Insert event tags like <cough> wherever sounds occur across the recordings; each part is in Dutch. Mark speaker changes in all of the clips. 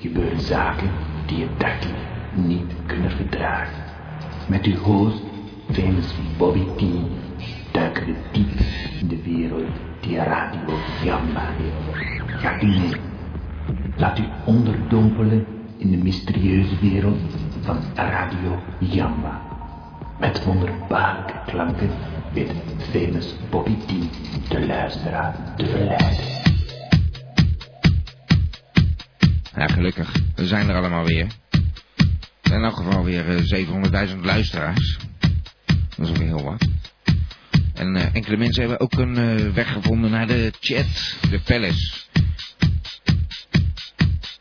Speaker 1: gebeuren zaken die je dagelijks niet kunnen verdragen. Met uw host, famous Bobby T, duiken we diep in de wereld die Radio Jamba heeft. Gaat u mee. Laat u onderdompelen in de mysterieuze wereld van Radio Jamba. Met wonderbaarlijke klanken weet famous Bobby T de luisteraar te verleiden.
Speaker 2: Ja, gelukkig. We zijn er allemaal weer. Er zijn in elk geval weer eh, 700.000 luisteraars. Dat is ook heel wat. En eh, enkele mensen hebben ook een eh, weg gevonden naar de chat, de palace.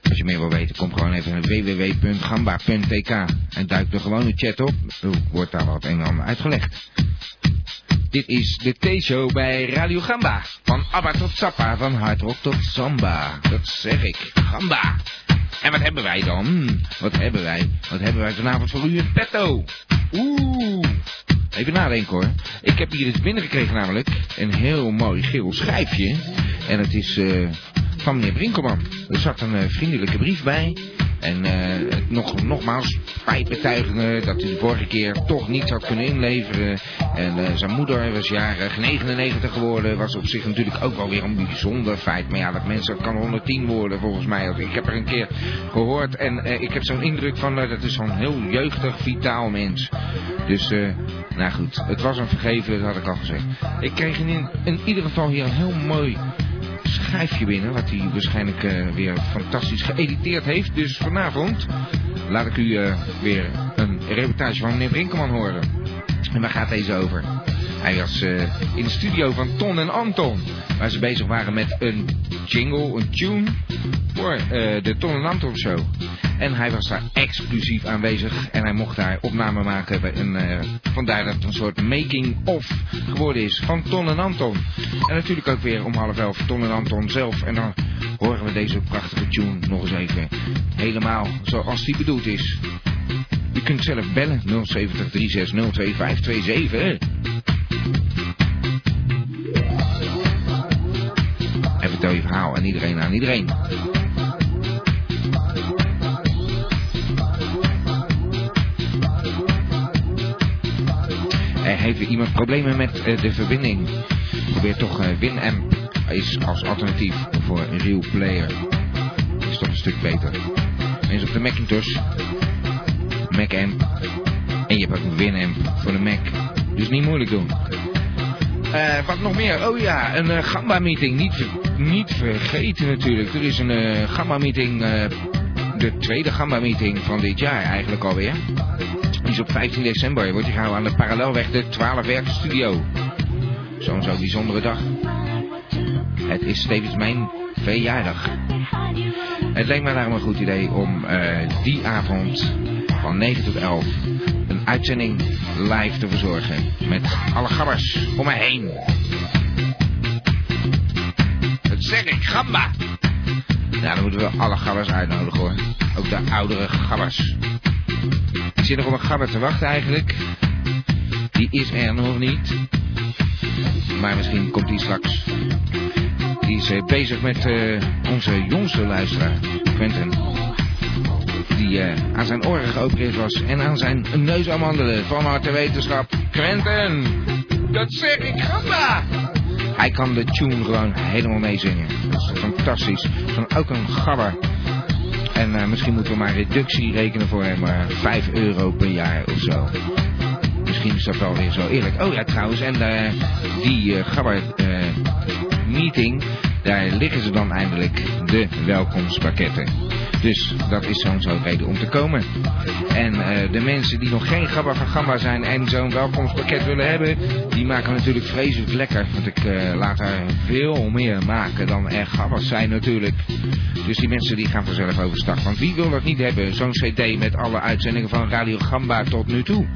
Speaker 2: Als je meer wil weten, kom gewoon even naar www.gamba.tk en duik er gewoon de chat op. Er wordt daar wat een en ander uitgelegd. Dit is de T-show bij Radio Gamba. Van Abba tot Sappa, van hardrock tot samba. Dat zeg ik. Gamba. En wat hebben wij dan? Wat hebben wij? Wat hebben wij vanavond voor u in petto? Oeh. Even nadenken hoor. Ik heb hier iets binnengekregen namelijk. Een heel mooi geel schijfje. En het is eh, van meneer Brinkelman. Er zat een eh, vriendelijke brief bij. En eh, het nog, nogmaals, spijtbetuigingen dat hij de vorige keer toch niets had kunnen inleveren. En eh, zijn moeder was jarig 99 geworden. Was op zich natuurlijk ook wel weer een bijzonder feit. Maar ja, dat mensen, dat kan 110 worden volgens mij. Ik heb er een keer gehoord en eh, ik heb zo'n indruk van, eh, dat is zo'n heel jeugdig, vitaal mens. Dus, eh, nou goed, het was een vergeven, dat had ik al gezegd. Ik kreeg in, in ieder geval hier een heel mooi schijfje binnen, wat hij waarschijnlijk eh, weer fantastisch geëditeerd heeft. Dus vanavond laat ik u eh, weer een reportage van meneer Brinkelman horen. En waar gaat deze over? Hij was eh, in de studio van Ton en Anton, waar ze bezig waren met een jingle, een tune, voor eh, de Ton en Anton Show. En hij was daar exclusief aanwezig en hij mocht daar opname maken. Bij een, eh, vandaar dat het een soort making-of geworden is van Ton en Anton. En natuurlijk ook weer om half elf Ton en Anton zelf. En dan horen we deze prachtige tune nog eens even. Helemaal zoals die bedoeld is. U kunt zelf bellen 070 360 2527. En vertel je verhaal aan iedereen aan iedereen. Er heeft weer iemand problemen met eh, de verbinding. Probeer toch eh, Winamp is als alternatief voor een real player. Is toch een stuk beter. Eens op de Macintosh. Macamp. En je hebt ook een Winamp voor de Mac. Dus niet moeilijk doen. Eh, wat nog meer? Oh ja, een eh, Gamba-meeting. Niet, ver- niet vergeten natuurlijk. Er is een eh, Gamba-meeting. eh, de tweede Gamba-meeting van dit jaar eigenlijk alweer. Die is op 15 december. Wordt die gehouden aan de Parallelweg, de 12 Werkstudio. Zo'n zo'n bijzondere dag. Het is tevens mijn verjaardag. Het leek mij daarom een goed idee om eh, die avond van 9 tot 11 een uitzending live te verzorgen. Met alle gabbers om me heen. Dat zeg ik, gamba! Nou, dan moeten we alle gabbers uitnodigen hoor. Ook de oudere gabbers. Ik zit nog op een gabber te wachten eigenlijk. Die is er nog niet. Maar misschien komt die straks. Die is eh, bezig met eh, onze jongste luisteraar, Quentin. Die eh, aan zijn oren geopereerd was en aan zijn neus aan mandelen. Van harte wetenschap, Quentin! Dat zeg ik, gamba! Hij kan de tune gewoon helemaal meezingen. Dat is fantastisch. Van ook een gabber. En eh, misschien moeten we maar reductie rekenen voor hem. eh, 5 euro per jaar of zo. Misschien is dat wel weer zo eerlijk. Oh ja, trouwens. En eh, die eh gabber eh, meeting, daar liggen ze dan eindelijk de welkomstpakketten. Dus dat is zo'n zo'n reden om te komen. En eh, de mensen die nog geen gabba van gamba zijn en zo'n welkomstpakket willen hebben, die maken natuurlijk vreselijk lekker. Want ik eh, laat er veel meer maken dan er gabbas zijn natuurlijk. Dus die mensen die gaan vanzelf overstag. Want wie wil dat niet hebben? Zo'n cd met alle uitzendingen van Radio Gamba tot nu toe.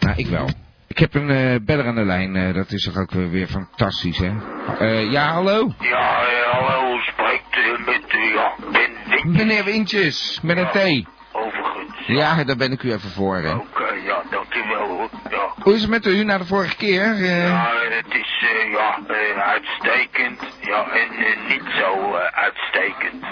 Speaker 2: Nou, ik wel. Ik heb een eh, beller aan de lijn. eh, dat is toch ook eh, weer fantastisch, hè? Eh, ja, hallo?
Speaker 3: Ja, eh, hallo, spreekt u met u, ja, ben Wit
Speaker 2: Meneer Wintjes, met een T.
Speaker 3: overigens.
Speaker 2: Ja, daar ben ik u even voor, hè.
Speaker 3: Oké, ja, dankjewel hoor, ja.
Speaker 2: Hoe is het met u na de vorige keer? eh?
Speaker 3: Ja, eh, het is, eh, ja, eh, uitstekend, ja, en eh, niet zo eh, uitstekend.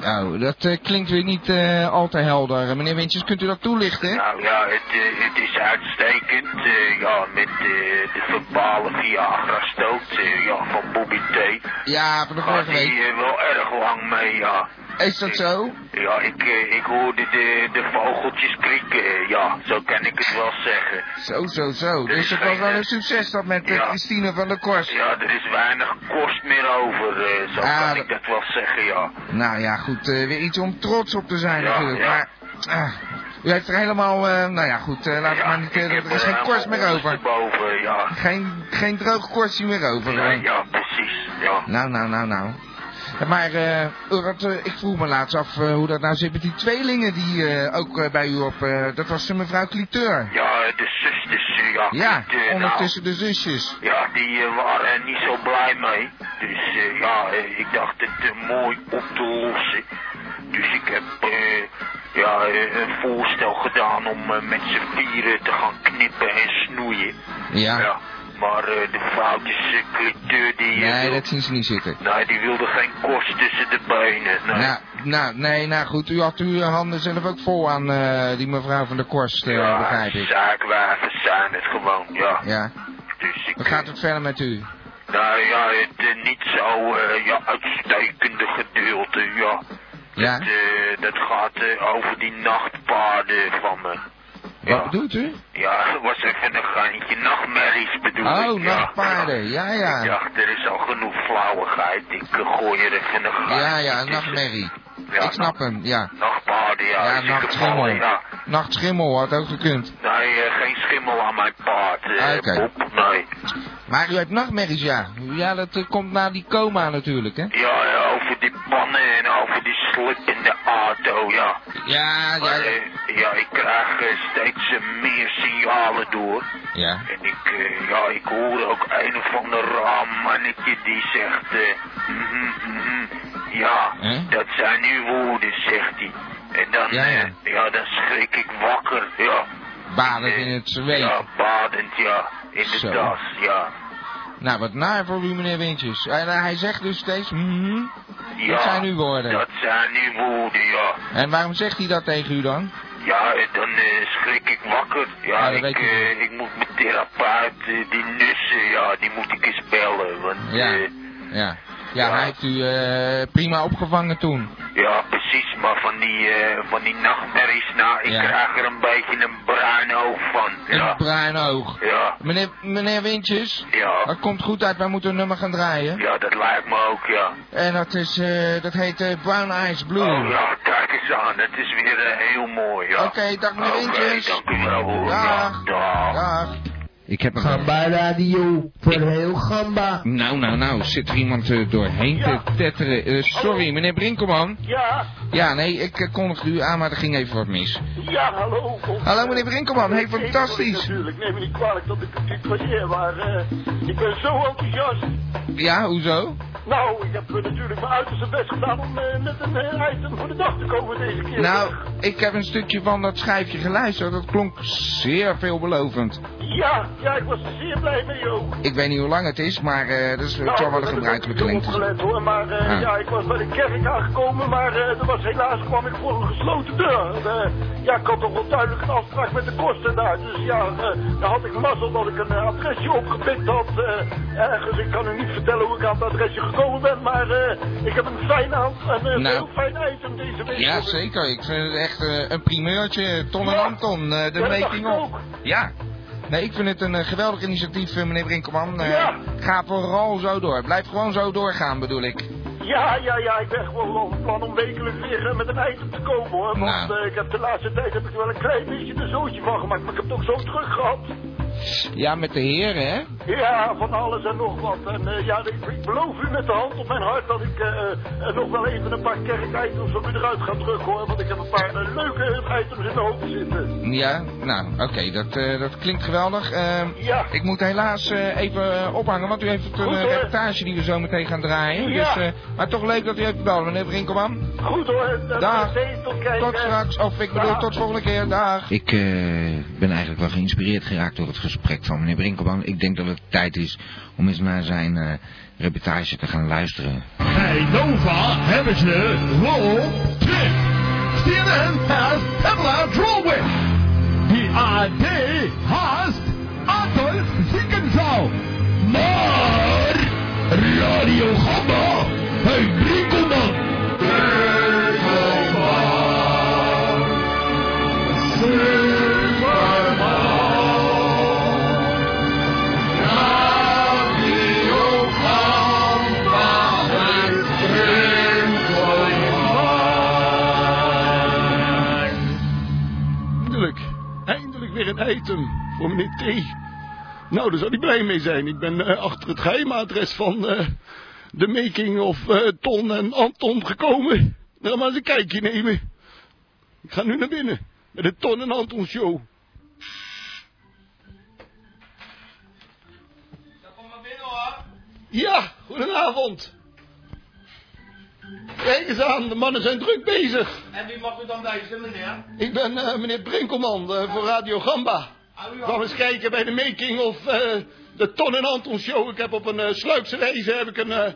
Speaker 2: Nou, dat eh, klinkt weer niet eh, al te helder. Meneer Wintjes, kunt u dat toelichten?
Speaker 3: Nou ja, het, eh, het is uitstekend. eh, ja, met eh, de verbale Viagra-stoot eh, ja, van Bobby T.
Speaker 2: Ja, van de
Speaker 3: Gaat
Speaker 2: vorige
Speaker 3: hij
Speaker 2: week.
Speaker 3: eh, wel erg lang mee, ja.
Speaker 2: Is dat zo?
Speaker 3: Ja, ik, eh, ik hoorde de, de vogeltjes krieken, eh, ja. Zo kan ik het wel zeggen.
Speaker 2: Zo, zo, zo. Dus het was wel een succes dat met eh,
Speaker 3: Ja.
Speaker 2: Christine van der Korst.
Speaker 3: Ja, er is weinig kost meer over, eh, zo
Speaker 2: Ah,
Speaker 3: kan
Speaker 2: dat-
Speaker 3: ik dat wel zeggen, ja.
Speaker 2: Nou ja, goed. eh, weer iets om trots op te zijn
Speaker 3: Ja,
Speaker 2: natuurlijk.
Speaker 3: ja.
Speaker 2: Maar ah, u heeft er helemaal... eh, nou ja, goed. eh, laat
Speaker 3: ja,
Speaker 2: het maar niet... eh,
Speaker 3: ik heb
Speaker 2: er is geen korst meer over.
Speaker 3: Boven, ja.
Speaker 2: Geen, geen droog korstje meer over.
Speaker 3: Nee,
Speaker 2: eh.
Speaker 3: ja, precies, ja.
Speaker 2: Nou, nou, nou, nou. Eh, Maar eh, dat, eh, ik vroeg me laatst af eh, hoe dat nou zit met die tweelingen die eh, ook eh, bij u op... eh, dat was eh, mevrouw Cliteur.
Speaker 3: Ja, de zusters, eh, ja.
Speaker 2: Ja,
Speaker 3: het, eh, nou,
Speaker 2: ondertussen de zusjes.
Speaker 3: ja, die eh, waren er niet zo blij mee. Dus eh, ja, eh, ik dacht het eh, mooi op te lossen. Dus ik heb eh, ja, eh, een voorstel gedaan om eh, met z'n vieren te gaan knippen en snoeien.
Speaker 2: Ja.
Speaker 3: Ja, maar eh, de vrouwtjes eh, cliteur die... eh,
Speaker 2: Nee,
Speaker 3: wil-
Speaker 2: dat zien ze niet zitten.
Speaker 3: Nee, Nou, die wilde geen korst tussen de benen. Nee.
Speaker 2: Nou, nou, nee, nou goed. U had uw handen zelf ook vol aan eh, die mevrouw van der Korst, eh, begrijp ik.
Speaker 3: zaakwaven zijn het gewoon, ja.
Speaker 2: Ja.
Speaker 3: Dus ik...
Speaker 2: Hoe gaat het verder met u?
Speaker 3: Nou ja, het eh, niet zo eh, ja, uitstekende gedeelte, ja.
Speaker 2: Ja?
Speaker 3: Dat, eh, dat gaat eh, over die nachtpaarden van me.
Speaker 2: Wat
Speaker 3: Ja,
Speaker 2: bedoelt u?
Speaker 3: ja, het was even een geintje. Nachtmerries bedoel ik.
Speaker 2: Oh,
Speaker 3: ja.
Speaker 2: nachtpaarden. Ja,
Speaker 3: Ik
Speaker 2: ja.
Speaker 3: dacht, er is al genoeg flauwigheid. Ik eh, gooi er even een geintje
Speaker 2: Ja, ja, een
Speaker 3: tussen.
Speaker 2: nachtmerrie.
Speaker 3: Ja,
Speaker 2: Ik snap hem, ja.
Speaker 3: Nachtpaarden, ja.
Speaker 2: Ja,
Speaker 3: is ik
Speaker 2: nachtschimmel.
Speaker 3: gevallen, ja.
Speaker 2: Nachtschimmel had ook gekund.
Speaker 3: Nee, eh, geen schimmel aan mijn paard, eh
Speaker 2: Ah, oké.
Speaker 3: Bob, nee.
Speaker 2: Maar u hebt nachtmerries, ja. Ja, dat eh, komt na die coma natuurlijk, hè?
Speaker 3: Ja, ja, over die pannen en over die slip in de auto, ja.
Speaker 2: Ja, ja,
Speaker 3: Maar,
Speaker 2: ja.
Speaker 3: eh, ja, ik krijg eh, steeds eh, meer signalen door.
Speaker 2: Ja,
Speaker 3: En ik, eh, ja, ik hoor ook een of ander raam mannetje die zegt... eh, mhm, mhm. ja,
Speaker 2: Hè?
Speaker 3: dat zijn uw woorden, zegt hij. En dan,
Speaker 2: Ja, ja.
Speaker 3: eh, ja, dan schrik ik wakker, ja.
Speaker 2: badend in het
Speaker 3: Ja,
Speaker 2: zweet.
Speaker 3: badend, ja. In de
Speaker 2: Zo.
Speaker 3: tas, ja.
Speaker 2: Nou, wat naar voor u, meneer Wintjes. En eh, hij zegt dus steeds, mhm.
Speaker 3: ja.
Speaker 2: Dat zijn uw woorden.
Speaker 3: Dat zijn uw woorden, ja.
Speaker 2: En waarom zegt hij dat tegen u dan?
Speaker 3: Ja, eh, dan eh, schrik ik wakker.
Speaker 2: Ja,
Speaker 3: Ja,
Speaker 2: dat weet
Speaker 3: ik,
Speaker 2: ik
Speaker 3: eh,
Speaker 2: niet.
Speaker 3: ik moet mijn therapeut, eh, die nussen, ja, die moet ik eens bellen. Want,
Speaker 2: Ja.
Speaker 3: eh,
Speaker 2: Ja. Ja,
Speaker 3: Ja.
Speaker 2: hij heeft u eh, prima opgevangen toen.
Speaker 3: ja, precies, maar van die, eh, van die nachtmerries, nou, ik
Speaker 2: Ja.
Speaker 3: krijg er een beetje een bruin hoofd van. Ja,
Speaker 2: Een bruin oog.
Speaker 3: ja,
Speaker 2: Meneer, meneer Wintjes,
Speaker 3: ja.
Speaker 2: dat komt goed uit. Wij moeten een nummer gaan draaien.
Speaker 3: Ja, dat lijkt me ook, ja.
Speaker 2: En dat, is, eh, dat heet eh, Brown Eyes Blue.
Speaker 3: Oh ja, kijk eens aan, dat is weer eh, heel mooi, ja.
Speaker 2: Oké, dag, meneer
Speaker 3: Oké,
Speaker 2: Wintjes.
Speaker 3: dank u wel, hoor.
Speaker 2: Dag.
Speaker 3: Ja, dag.
Speaker 2: Dag. Ik heb hem.
Speaker 4: Gamba Radio, voor heel Gamba.
Speaker 2: Nou, nou, nou, zit er iemand eh, doorheen te tetteren. Eh, sorry, meneer Brinkelman.
Speaker 5: Ja,
Speaker 2: Ja, nee, ik eh, kondigde u aan, maar er ging even wat mis.
Speaker 5: ja, hallo.
Speaker 2: Hallo, meneer Brinkelman. Hey, fantastisch.
Speaker 5: Natuurlijk, neem me niet kwalijk dat ik het niet passeer, maar eh, ik ben zo enthousiast.
Speaker 2: Ja, hoezo?
Speaker 5: Nou, ik heb eh, natuurlijk mijn uiterste best gedaan om eh, met een eh, item voor de dag te komen deze keer.
Speaker 2: Nou, ik heb een stukje van dat schijfje geluisterd. Dat klonk zeer veelbelovend.
Speaker 5: Ja, ja, ik was er zeer blij mee ook.
Speaker 2: Ik weet niet hoe lang het is, maar eh dat is, het zal wel de gebruikelijke
Speaker 5: klinkt.
Speaker 2: lengte
Speaker 5: Ik heb
Speaker 2: zijn.
Speaker 5: opgelet hoor, maar eh,
Speaker 2: Ah.
Speaker 5: ja, ik was bij de kerk aangekomen, maar eh, er was helaas kwam ik voor een gesloten deur. En, eh, ja, ik had toch wel duidelijk een afspraak met de kosten daar. Dus ja, eh, dan had ik mazzel dat ik een eh, adresje opgepikt had. eh, ergens, ik kan u niet vertellen hoe ik aan het adresje gekomen ben, maar eh, ik heb een fijn aan, een eh,
Speaker 2: Nou.
Speaker 5: heel fijn item deze week.
Speaker 2: Ja, zeker. Ik vind het echt eh, een primeurtje. Ton en
Speaker 5: Ja.
Speaker 2: Anton, eh, de
Speaker 5: Ja, dat
Speaker 2: making
Speaker 5: dacht ik
Speaker 2: of.
Speaker 5: ook.
Speaker 2: Ja. Nee, ik vind het een eh, geweldig initiatief, eh, meneer Brinkelman. Eh,
Speaker 5: Ja.
Speaker 2: Ga vooral zo door. Blijf gewoon zo doorgaan, bedoel ik.
Speaker 5: Ja, ja, ja, ik ben gewoon wel van plan om wekelijks weer eh, met een item te komen hoor. Want
Speaker 2: Nou.
Speaker 5: eh, ik heb de laatste tijd heb ik er wel een klein beetje een zootje van gemaakt, maar ik heb het ook zo terug gehad.
Speaker 2: Ja, met de heren, hè?
Speaker 5: Ja, van alles en nog wat. En eh, ja, ik, ik beloof u met de hand op mijn hart dat ik eh, eh, nog wel even een paar kerkitems op u eruit ga drukken hoor. Want ik heb een paar eh, leuke items in de hoofd zitten.
Speaker 2: Ja, nou, oké. dat, eh, dat klinkt geweldig. Eh,
Speaker 5: Ja.
Speaker 2: Ik moet helaas eh, even eh, ophangen, want u heeft een
Speaker 5: Goed,
Speaker 2: eh,
Speaker 5: hoor.
Speaker 2: reportage die we zo meteen gaan draaien.
Speaker 5: Ja.
Speaker 2: Dus, eh, maar toch leuk dat u heeft gebeld, meneer Brinkelman.
Speaker 5: Goed hoor, eh,
Speaker 2: Dag.
Speaker 5: Tot, kijken.
Speaker 2: Tot straks, Oh, of ik bedoel,
Speaker 5: Dag.
Speaker 2: tot volgende keer. Dag.
Speaker 6: Ik eh, ben eigenlijk wel geïnspireerd geraakt door het gesprek van meneer Brinkelman. Ik denk dat we
Speaker 2: het tijd is om eens naar zijn eh, reportage te gaan luisteren.
Speaker 6: Bij Nova hebben ze Roll Trip. CNN has Pamela Drolwich. The AD has Adolf Ziekenzaal. Maar Radio Gamma, hey Brikkelman. Brikkelman.
Speaker 7: Eindelijk, eindelijk weer een item voor meneer T. Nou, daar zou hij blij mee zijn. Ik ben eh, achter het geheime adres van eh, de making of eh, Ton en Anton gekomen. Nou, maar eens een kijkje nemen. Ik ga nu naar binnen, bij de Ton en Anton show. Ja, goedenavond. Kijk eens aan, de mannen zijn druk bezig.
Speaker 8: En wie mag u dan wijzen, meneer?
Speaker 7: Ik ben eh, meneer Brinkelman eh, voor Radio Gamba. Ik kwam eens kijken bij de making of eh, de Ton en Anton show. Ik heb op een eh, sluipse wijze heb ik een, eh,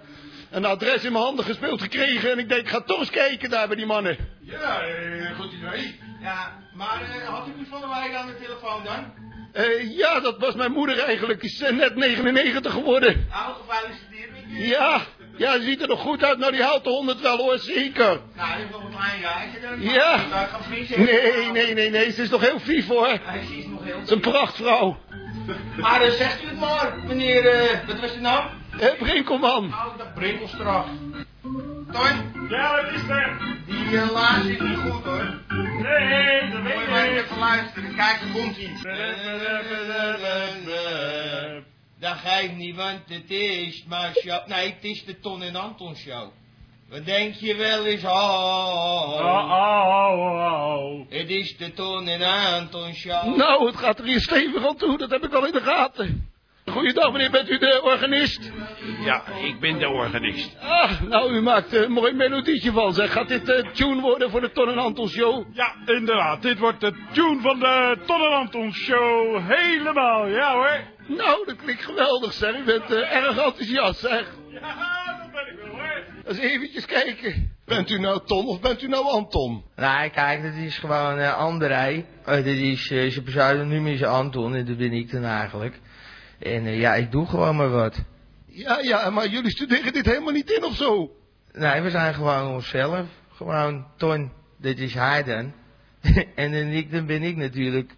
Speaker 7: een adres in mijn handen gespeeld gekregen. En ik denk, ik ga toch eens kijken daar bij die mannen.
Speaker 8: Ja, eh, goed idee. Ja, maar eh, had u die van der Weijden aan de telefoon dan?
Speaker 7: Eh, ja, dat was mijn moeder eigenlijk. Die is eh, net 99 geworden.
Speaker 8: Nou, gefeliciteerd met u.
Speaker 7: Ja, ja, ze ziet er nog goed uit. Nou, die houdt de honderd wel hoor, zeker.
Speaker 8: Nou, u nog een klein jaartje dan.
Speaker 7: Ja.
Speaker 8: Nou, ik ga vriezen.
Speaker 7: Nee, nee, nee, nee. Ze is nog heel vief hoor.
Speaker 8: Hij is nog heel...
Speaker 7: Ze is een prachtvrouw.
Speaker 8: Maar eh, zegt u het maar, meneer... eh, wat was je naam?
Speaker 7: Hé, Brinkelman.
Speaker 8: Nou, dat Brinkelstraat. Ton? Ja, wat is er? Die uh, laars is niet goed hoor.
Speaker 9: Nee, dat
Speaker 8: Moet
Speaker 9: weet
Speaker 8: je
Speaker 9: ik
Speaker 8: maar
Speaker 9: niet.
Speaker 8: even luisteren. Kijk, er komt ie. Dat ga ik niet, want het is maar show. Nee, het is de Ton en Anton show. Wat denk je wel eens? Oh,
Speaker 9: Oh, oh, oh, oh.
Speaker 8: Het is de Ton en Anton show.
Speaker 7: Nou, het gaat er hier stevig aan toe, dat heb ik al in de gaten. Goeiedag meneer, bent u de organist?
Speaker 9: Ja, ik ben de organist.
Speaker 7: Ah, nou, u maakt eh, een mooi melodietje van, zeg. Gaat dit eh, tune worden voor de Ton en Anton Show?
Speaker 9: Ja, inderdaad. Dit wordt de tune van de Ton en Anton Show. Helemaal, ja hoor.
Speaker 7: Nou, dat klinkt geweldig, zeg. U bent eh, erg enthousiast, zeg.
Speaker 9: Ja, dat ben ik wel hoor.
Speaker 7: Eens eventjes kijken. Bent u nou Ton of bent u nou Anton?
Speaker 10: Nee, kijk, dat is gewoon eh André. Eh, dit is, eh, zijn pseudoniem is Anton en dat ben ik dan eigenlijk. En eh, ja, ik doe gewoon maar wat.
Speaker 7: Ja, ja, maar jullie studeren dit helemaal niet in of zo?
Speaker 10: Nee, we zijn gewoon onszelf. Gewoon Ton, dit is hij dan. <laughs> en dan, ik, dan ben ik natuurlijk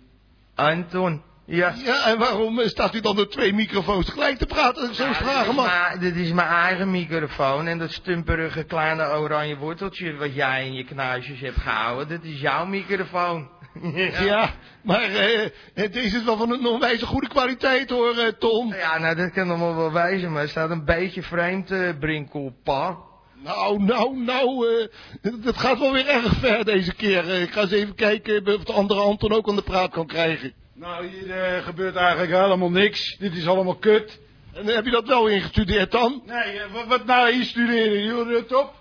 Speaker 10: Anton. Ja.
Speaker 7: Ja, en waarom eh, staat u dan door twee microfoons gelijk te praten als ik zo eens vragen
Speaker 10: Nou, dit, is
Speaker 7: mag?
Speaker 10: mijn, dit is mijn eigen microfoon en dat stumperige kleine oranje worteltje wat jij in je knuisjes hebt gehouden, dat is jouw microfoon. <laughs>
Speaker 7: Ja, maar eh, deze is wel van een onwijze goede kwaliteit hoor, eh, Ton.
Speaker 10: Ja, nou, dat kan allemaal wel wijzen, maar het staat een beetje vreemd, eh Brinkelpa.
Speaker 7: Nou, nou, nou, eh, dat- dat gaat wel weer erg ver deze keer. Eh, ik ga eens even kijken of de andere Anton ook aan de praat kan krijgen.
Speaker 9: Nou, hier eh, gebeurt eigenlijk helemaal niks. Dit is allemaal kut.
Speaker 7: En eh, heb je dat wel ingestudeerd dan?
Speaker 9: Nee, eh, wat, wat nou hier studeren, joh, rut op. Ah,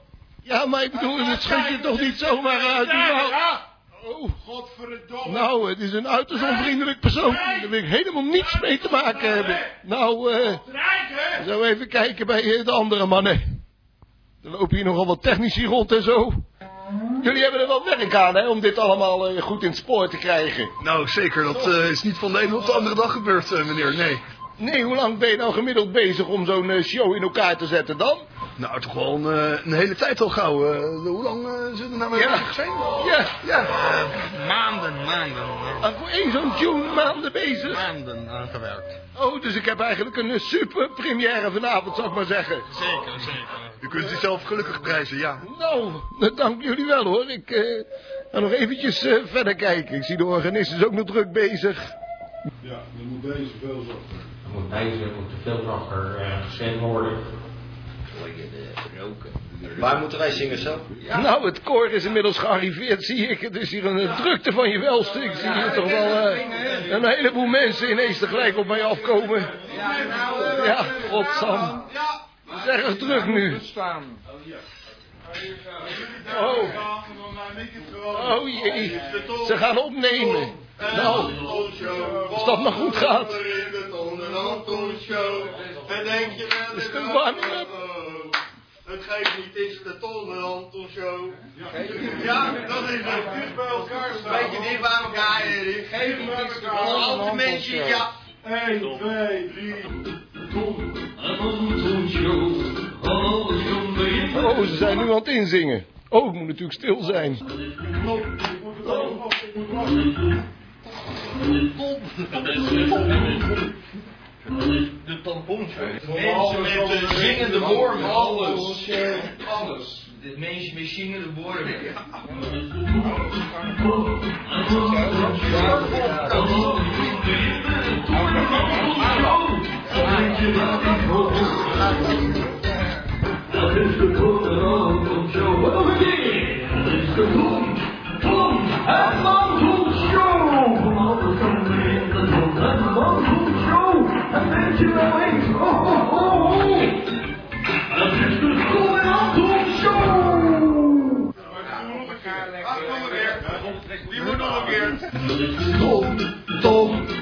Speaker 7: Ja, maar ik bedoel, dat schud je toch niet zomaar uit uw mouw?
Speaker 9: Nou.
Speaker 7: Oh,
Speaker 9: Godverdomme.
Speaker 7: nou, het is een uiterst onvriendelijk persoon. Daar wil ik helemaal niets mee te maken hebben. Nou, eh, zo even kijken bij eh, de andere mannen. Er lopen hier nogal wat technici rond en zo. Jullie hebben er wel werk aan, hè, om dit allemaal eh, goed in het spoor te krijgen.
Speaker 11: Nou, zeker. Dat eh, is niet van de ene op de andere dag gebeurd, eh, meneer. Nee.
Speaker 7: Nee, hoe lang ben je nou gemiddeld bezig om zo'n eh, show in elkaar te zetten dan?
Speaker 11: Nou, toch wel een, eh, een hele tijd al gauw. eh, hoe lang eh, zullen we nou mee
Speaker 7: Ja.
Speaker 11: bezig zijn?
Speaker 7: Ja,
Speaker 11: Ja.
Speaker 10: Eh, Maanden, maanden,
Speaker 7: aan voor één zo'n tune maanden bezig.
Speaker 10: maanden aangewerkt.
Speaker 7: Oh, dus ik heb eigenlijk een eh, super première vanavond, zou ik maar zeggen.
Speaker 10: Zeker, zeker.
Speaker 11: U kunt zichzelf gelukkig prijzen, ja.
Speaker 7: Nou, dat dank jullie wel hoor. Ik eh, ga nog eventjes eh, verder kijken. Ik zie de organist is ook nog druk bezig.
Speaker 9: Ja, dan moet deze veel zo.
Speaker 12: Er moet bezig, moet de filtrachter eh gestemd worden. roken.
Speaker 10: Waar moeten wij zingen zo?
Speaker 7: Nou, het koor is inmiddels gearriveerd, zie ik. Het is hier een eh, drukte van je welste. Ik zie hier toch wel eh, een heleboel mensen ineens tegelijk op mij afkomen.
Speaker 8: Ja, nou, eh,
Speaker 7: Ja, godsam.
Speaker 8: Ja.
Speaker 7: Het is erg druk nu.
Speaker 10: Staan.
Speaker 8: Oh,
Speaker 7: Oh. Oh jee, ze Oh, gaan opnemen. Nou, als dat maar goed gaat.
Speaker 8: In de Ton en Anton Show. En denk je wel
Speaker 7: Is het
Speaker 8: dat-
Speaker 7: een warme klep?
Speaker 8: Oh, Het geeft niet, het is de Ton en Anton Show.
Speaker 9: Geef-
Speaker 8: Ja, dat is het. Dus bij elkaar staan.
Speaker 9: Een beetje dicht bij elkaar,
Speaker 8: Erik. Geef niet, het is de Ton en Anton Show.
Speaker 9: ja. 1, 2, 3.
Speaker 7: Oh, ze zijn nu aan het inzingen. Oh, ik moet natuurlijk stil zijn.
Speaker 8: De tampons. Mensen met de zingende wormen. Alles. Alles. De mensen met zingende wormen.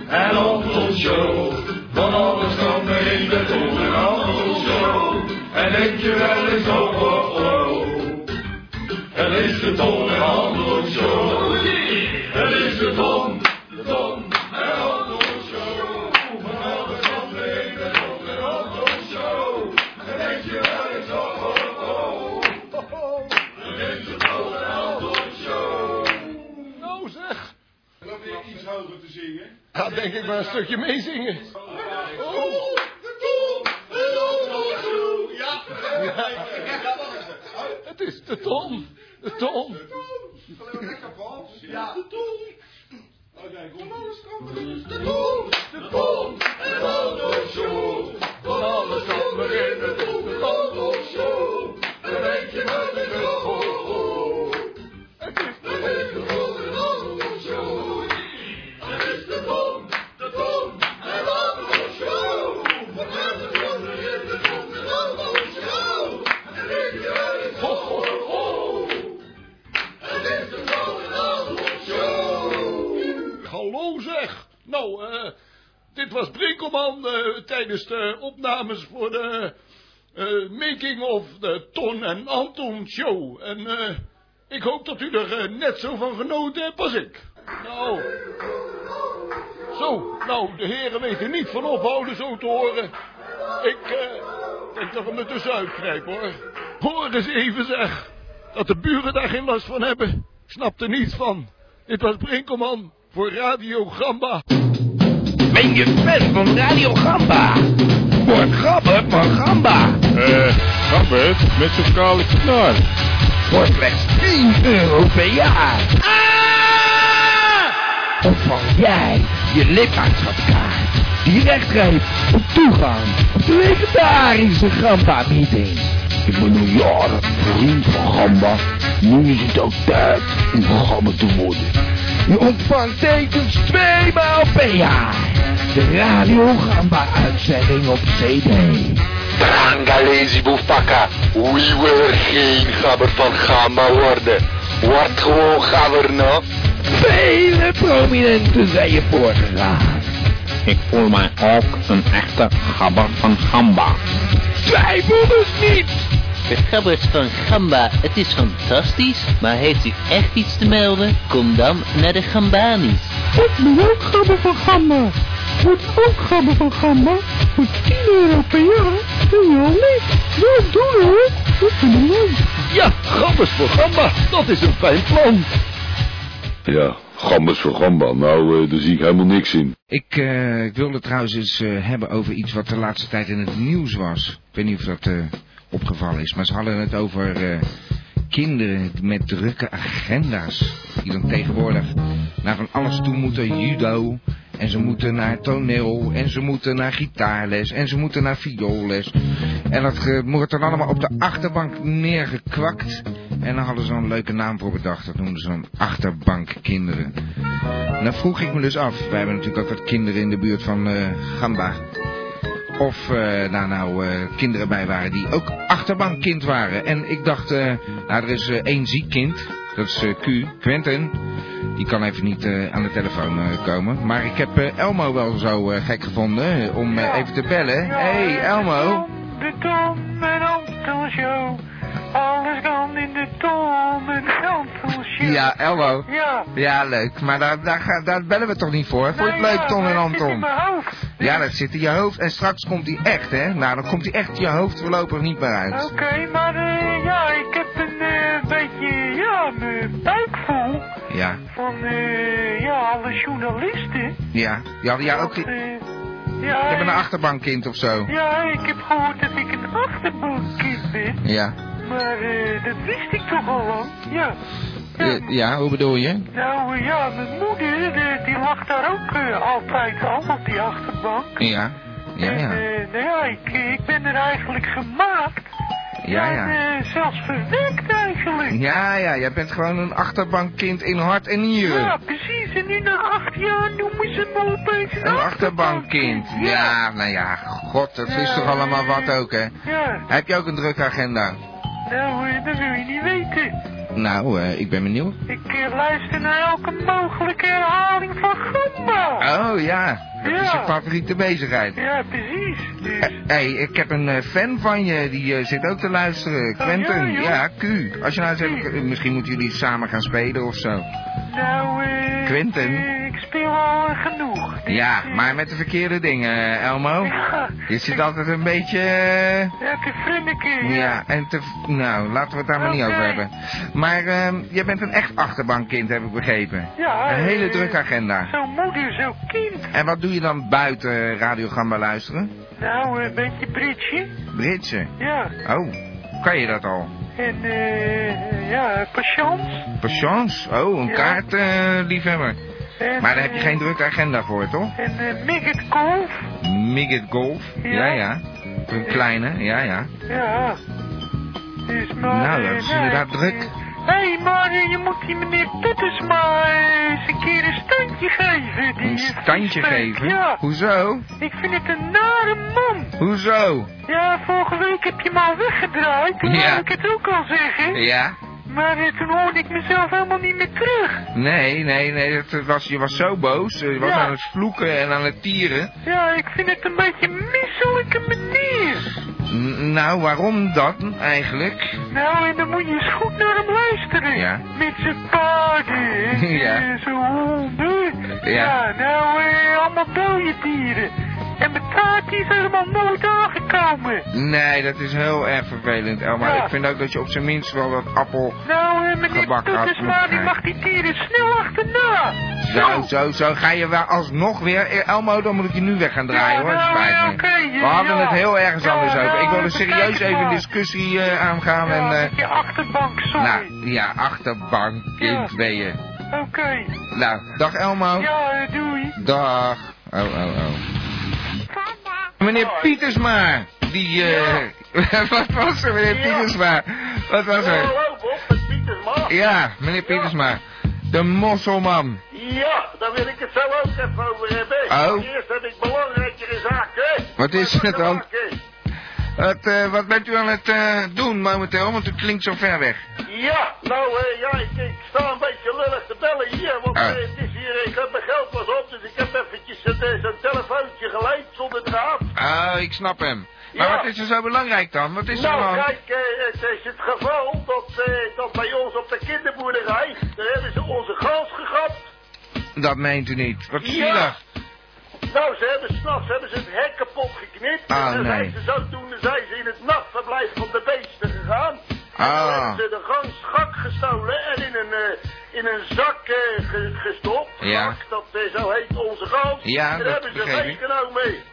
Speaker 9: En Anton Show, van alles kan er in de Tom en Anton Show. En denk je wel eens oh oh oh, het is de Tom en Anton Show. Het is de Tom, de Tom en Anton Show. Van alles kan er in de Tom en Anton Show. En denk je wel eens oh oh oh, het is de Tom en Anton Show.
Speaker 7: Nou zeg.
Speaker 9: Dan weer iets hoger te zingen.
Speaker 7: Ga denk ik maar een stukje meezingen. Het is de Tom. De Tom.
Speaker 9: Ja, de tol. Van alles kan er in de tol. De tol. En alles show. Van alles kan er in de tol. De tol show. En weet je wat ik wil? Oh, oh. Het is de tol. En alles show. Het is de tol. De tol. En alles show. Van alles kan er in de tol. De tol show. En weet je wat ik wil? Oh, oh. Het is de tol. En alles show.
Speaker 7: Hallo zeg. Nou, eh, dit was Brinkelman eh, tijdens de opnames voor de eh, Making of de Ton en Anton Show. En eh, ik hoop dat u er eh, net zo van genoten hebt als ik.
Speaker 2: Oh.
Speaker 7: Nou. Zo, nou, de heren weten niet van ophouden zo te horen. Ik eh, denk dat we hem er tussenuit knijpen hoor. Hoor eens even zeg. Dat de buren daar geen last van hebben. Ik snap er niets van. Dit was Brinkelman voor Radio Gamba.
Speaker 2: Ben je fan van Radio Gamba? Word Gabbert van Gamba.
Speaker 13: Eh, Gambert, met zo'n kale knar.
Speaker 2: Voor slechts 10 euro per jaar.
Speaker 13: Ah!
Speaker 2: Ontvang jij je lidmaatschapkaart. Directreep op toegang. tot De legendarische Gamba-meeting.
Speaker 3: Ik ben al jaren vriend van Gamba. Nu is het ook tijd om Gamba te worden.
Speaker 2: Je ontvangt tekens twee maal per jaar. De Radio Gamba-uitzending op CD.
Speaker 14: Trangalezi Boefakka, we willen geen gabber van Gamba worden. Word gewoon gabber, no?
Speaker 2: Vele prominenten zijn je voorgegaan.
Speaker 15: Ik voel mij ook een echte gabber van gamba.
Speaker 2: Twijfel dus niet!
Speaker 16: De gabbers van Gamba, het is fantastisch, maar heeft u echt iets te melden? Kom dan naar de Gambanis.
Speaker 6: Ik ben ook gabber van Gamma. Wordt ook gabber van Gamma. Voor 10 euro per jaar. Doe je al niet. Ja, doe hoor. Ik vind hem leuk.
Speaker 7: Ja, Gabbers voor Gamba. Dat is een fijn plan.
Speaker 17: Ja, gambas voor gamba. Nou, eh, daar zie ik helemaal niks in.
Speaker 2: Ik, eh, ik wilde trouwens eens eh, hebben over iets wat de laatste tijd in het nieuws was. Ik weet niet of dat eh, opgevallen is, maar ze hadden het over eh, kinderen met drukke agenda's. Die dan tegenwoordig naar van alles toe moeten, judo, en ze moeten naar toneel, en ze moeten naar gitaarles, en ze moeten naar vioolles. En dat eh, wordt dan allemaal op de achterbank neergekwakt. En daar hadden ze dan een leuke naam voor bedacht, dat noemden ze dan achterbankkinderen. Nou vroeg ik me dus af, wij hebben natuurlijk ook wat kinderen in de buurt van eh, Gamba. Of eh, daar nou eh, kinderen bij waren die ook achterbankkind waren. En ik dacht, eh, nou er is eh, één ziek kind, dat is eh, Q, Quentin. Die kan even niet eh, aan de telefoon eh, komen. Maar ik heb eh, Elmo wel zo eh, gek gevonden eh, om eh, even te bellen. hey, Elmo.
Speaker 6: De Tom en Anton Show. Alles kan in de Tom en Anton Show.
Speaker 2: Ja, Elmo.
Speaker 6: Ja.
Speaker 2: Ja, leuk. Maar daar, daar, ga- daar bellen we toch niet voor? Vond je het
Speaker 6: Nou
Speaker 2: leuk,
Speaker 6: ja,
Speaker 2: Ton en
Speaker 6: maar het zit
Speaker 2: Anton?
Speaker 6: in mijn hoofd.
Speaker 2: Ja, dat zit in je hoofd. En straks komt hij echt, hè? Nou, dan komt hij echt je hoofd voorlopig niet meer uit.
Speaker 6: Oké, maar eh, ja, ik heb een eh, beetje, ja, mijn buik vol
Speaker 2: Ja,
Speaker 6: van, eh, ja, alle journalisten.
Speaker 2: ja. Je had ja, ook... Je
Speaker 6: Eh, ja,
Speaker 2: hebt een
Speaker 6: ik-
Speaker 2: achterbankkind of zo.
Speaker 6: Ja, ik heb gehoord dat ik een achterbankkind ben,
Speaker 2: Ja.
Speaker 6: maar eh, dat wist ik toch al lang, ja.
Speaker 2: Eh, ja, hoe bedoel je?
Speaker 6: Nou eh, ja, mijn moeder, eh, die lag daar ook eh, altijd al op die achterbank.
Speaker 2: Ja. Ja,
Speaker 6: En,
Speaker 2: ja.
Speaker 6: eh, nou ja, ik, ik ben er eigenlijk gemaakt.
Speaker 2: Ja,
Speaker 6: En
Speaker 2: ja.
Speaker 6: eh, zelfs verwekt eigenlijk.
Speaker 2: Ja, ja. Jij bent gewoon een achterbankkind in hart en
Speaker 6: Ja,
Speaker 2: nieren.
Speaker 6: precies. En nu na acht jaar noemen ze me opeens een
Speaker 2: Een
Speaker 6: achter-
Speaker 2: achterbankkind. Ja, nou ja. God, dat is toch allemaal wat ook, hè?
Speaker 6: Ja,
Speaker 2: Heb je ook een drukke agenda?
Speaker 6: nou, eh, dat wil je niet weten.
Speaker 2: Nou, eh, ik ben benieuwd.
Speaker 6: Ik eh, luister naar elke mogelijke herhaling van Gamba.
Speaker 2: Oh ja, dat is
Speaker 6: Ja.
Speaker 2: je favoriete bezigheid.
Speaker 6: Ja, precies. Dus,
Speaker 2: Hé, hey, ik heb een eh, fan van je, die eh, zit ook te luisteren. Quentin,
Speaker 6: Oh, ja, joh.
Speaker 2: ja, Q. Als je nou eens even, eh, misschien moeten jullie samen gaan spelen of zo.
Speaker 6: nou, eh,
Speaker 2: Quentin?
Speaker 6: eh, ik speel al eh, genoeg.
Speaker 2: Ja, maar met de verkeerde dingen, eh, Elmo.
Speaker 6: Ja.
Speaker 2: Je zit altijd een beetje... eh,
Speaker 6: Ja, te vriendelijke.
Speaker 2: ja, en te... Nou, laten we het daar maar niet
Speaker 6: Oké.
Speaker 2: over hebben. Maar ehm, jij bent een echt achterbankkind, heb ik begrepen.
Speaker 6: Ja,
Speaker 2: Een hele
Speaker 6: eh,
Speaker 2: drukke agenda.
Speaker 6: Zo'n moeder, zo'n kind.
Speaker 2: En wat doe je dan buiten Radio Gamba luisteren?
Speaker 6: Nou, eh, een beetje Britje.
Speaker 2: Britsen.
Speaker 6: Ja.
Speaker 2: Oh, kan je dat al?
Speaker 6: En, eh, ja, patience.
Speaker 2: Patience? Oh, een
Speaker 6: Ja.
Speaker 2: kaart, eh, liefhebber.
Speaker 6: En,
Speaker 2: Maar daar heb je
Speaker 6: eh,
Speaker 2: geen drukke agenda voor, toch?
Speaker 6: En eh, Micket Golf.
Speaker 2: Midget golf?
Speaker 6: Ja.
Speaker 2: Ja, ja. Een kleine, ja, ja.
Speaker 6: Ja. Dus maar...
Speaker 2: Nou,
Speaker 6: eh,
Speaker 2: dat is inderdaad druk.
Speaker 6: Hé, hey, maar eh, je moet die meneer Toeters maar eh, eens een keer een standje geven. Die
Speaker 2: Een
Speaker 6: eh,
Speaker 2: standje
Speaker 6: Viesbeek.
Speaker 2: geven?
Speaker 6: Ja,
Speaker 2: Hoezo?
Speaker 6: ik vind het een nare man.
Speaker 2: Hoezo?
Speaker 6: Ja, vorige week heb je me al weggedraaid. Toen
Speaker 2: Ja.
Speaker 6: wou ik het ook al zeggen.
Speaker 2: Ja?
Speaker 6: Maar eh, toen hoorde ik mezelf helemaal niet meer terug.
Speaker 2: Nee, nee, nee, dat was, je was zo boos. Je was
Speaker 6: Ja.
Speaker 2: aan het vloeken en aan het tieren.
Speaker 6: Ja, ik vind het een beetje een misselijke manier.
Speaker 2: N- nou, waarom dat eigenlijk?
Speaker 6: Nou, en dan moet je eens goed naar hem luisteren.
Speaker 2: Ja.
Speaker 6: Met zijn paarden en
Speaker 2: <laughs> Ja.
Speaker 6: eh, zijn honden.
Speaker 2: Ja.
Speaker 6: nou, eh, allemaal dode dieren. En mijn taart die is helemaal nooit aangekomen.
Speaker 2: Nee, dat is heel erg vervelend, Elma.
Speaker 6: Ja.
Speaker 2: Ik vind ook dat je op zijn minst wel wat appel...
Speaker 6: Nou, eh, meneer
Speaker 2: Gebak had
Speaker 6: Toetesma, die
Speaker 2: moeten
Speaker 6: mag die dieren snel achterna.
Speaker 2: Zo,
Speaker 6: Nou.
Speaker 2: zo, zo. Ga je wel alsnog weer... Eh, Elmo, dan moet ik je nu weg gaan draaien, hoor.
Speaker 6: nou,
Speaker 2: Spijt
Speaker 6: ja,
Speaker 2: me.
Speaker 6: oké, ja,
Speaker 2: We hadden
Speaker 6: ja.
Speaker 2: het heel ergens
Speaker 6: Ja,
Speaker 2: anders over.
Speaker 6: nou,
Speaker 2: Ik wilde
Speaker 6: even
Speaker 2: serieus
Speaker 6: kijken
Speaker 2: even een
Speaker 6: maar.
Speaker 2: discussie eh, aangaan
Speaker 6: Ja,
Speaker 2: en...
Speaker 6: met je achterbank,
Speaker 2: eh,
Speaker 6: sorry.
Speaker 2: nou, ja, achterbankkind
Speaker 6: Ja.
Speaker 2: ben je.
Speaker 6: Oké.
Speaker 2: Nou, dag Elmo.
Speaker 6: Ja, eh, doei.
Speaker 2: Dag. Oh, oh, oh. Meneer Pietersma, die... eh, <laughs> wat was er, meneer Pietersma? Wat was
Speaker 5: Ja,
Speaker 2: er?
Speaker 5: loop Oh, op met Pietersma.
Speaker 2: Ja, meneer Pietersma. De mosselman.
Speaker 5: Ja, daar wil ik het zo ook even over hebben.
Speaker 2: Oh.
Speaker 5: Eerst heb ik belangrijkere zaken.
Speaker 2: Wat is het dan?
Speaker 5: Zaken.
Speaker 2: Wat, eh, wat bent u aan het eh, doen momenteel? Want u klinkt zo ver weg.
Speaker 5: Ja, nou eh, ja, ik, ik sta een beetje lullig te bellen hier,
Speaker 2: Oh.
Speaker 5: want eh, het is hier, ik heb mijn geld pas op, dus ik heb eventjes zo'n eh, zo'n telefoontje geleid zonder draad.
Speaker 2: Ah, ik snap hem. Maar
Speaker 5: Ja.
Speaker 2: wat is er zo belangrijk dan? Wat is er
Speaker 5: nou,
Speaker 2: dan?
Speaker 5: kijk, eh, het is het geval dat, eh, dat bij ons op de kinderboerderij, daar hebben ze onze gans gegapt.
Speaker 2: Dat meent u niet. Wat
Speaker 5: Ja.
Speaker 2: zielig.
Speaker 5: Nou, ze hebben s'nachts hebben ze het hek kapot geknipt.
Speaker 2: Oh,
Speaker 5: en dan
Speaker 2: nee.
Speaker 5: zijn ze zo toen zijn ze in het nachtverblijf van de beesten gegaan. En dan
Speaker 2: Ah,
Speaker 5: hebben ze de gans gak gestolen en in een, eh, in een zak eh, ge- gestopt.
Speaker 2: Ja.
Speaker 5: Gak, dat eh, zo heet onze gans.
Speaker 2: Ja,
Speaker 5: en
Speaker 2: dat
Speaker 5: daar hebben ze
Speaker 2: begreep ik.
Speaker 5: meegenomen. mee.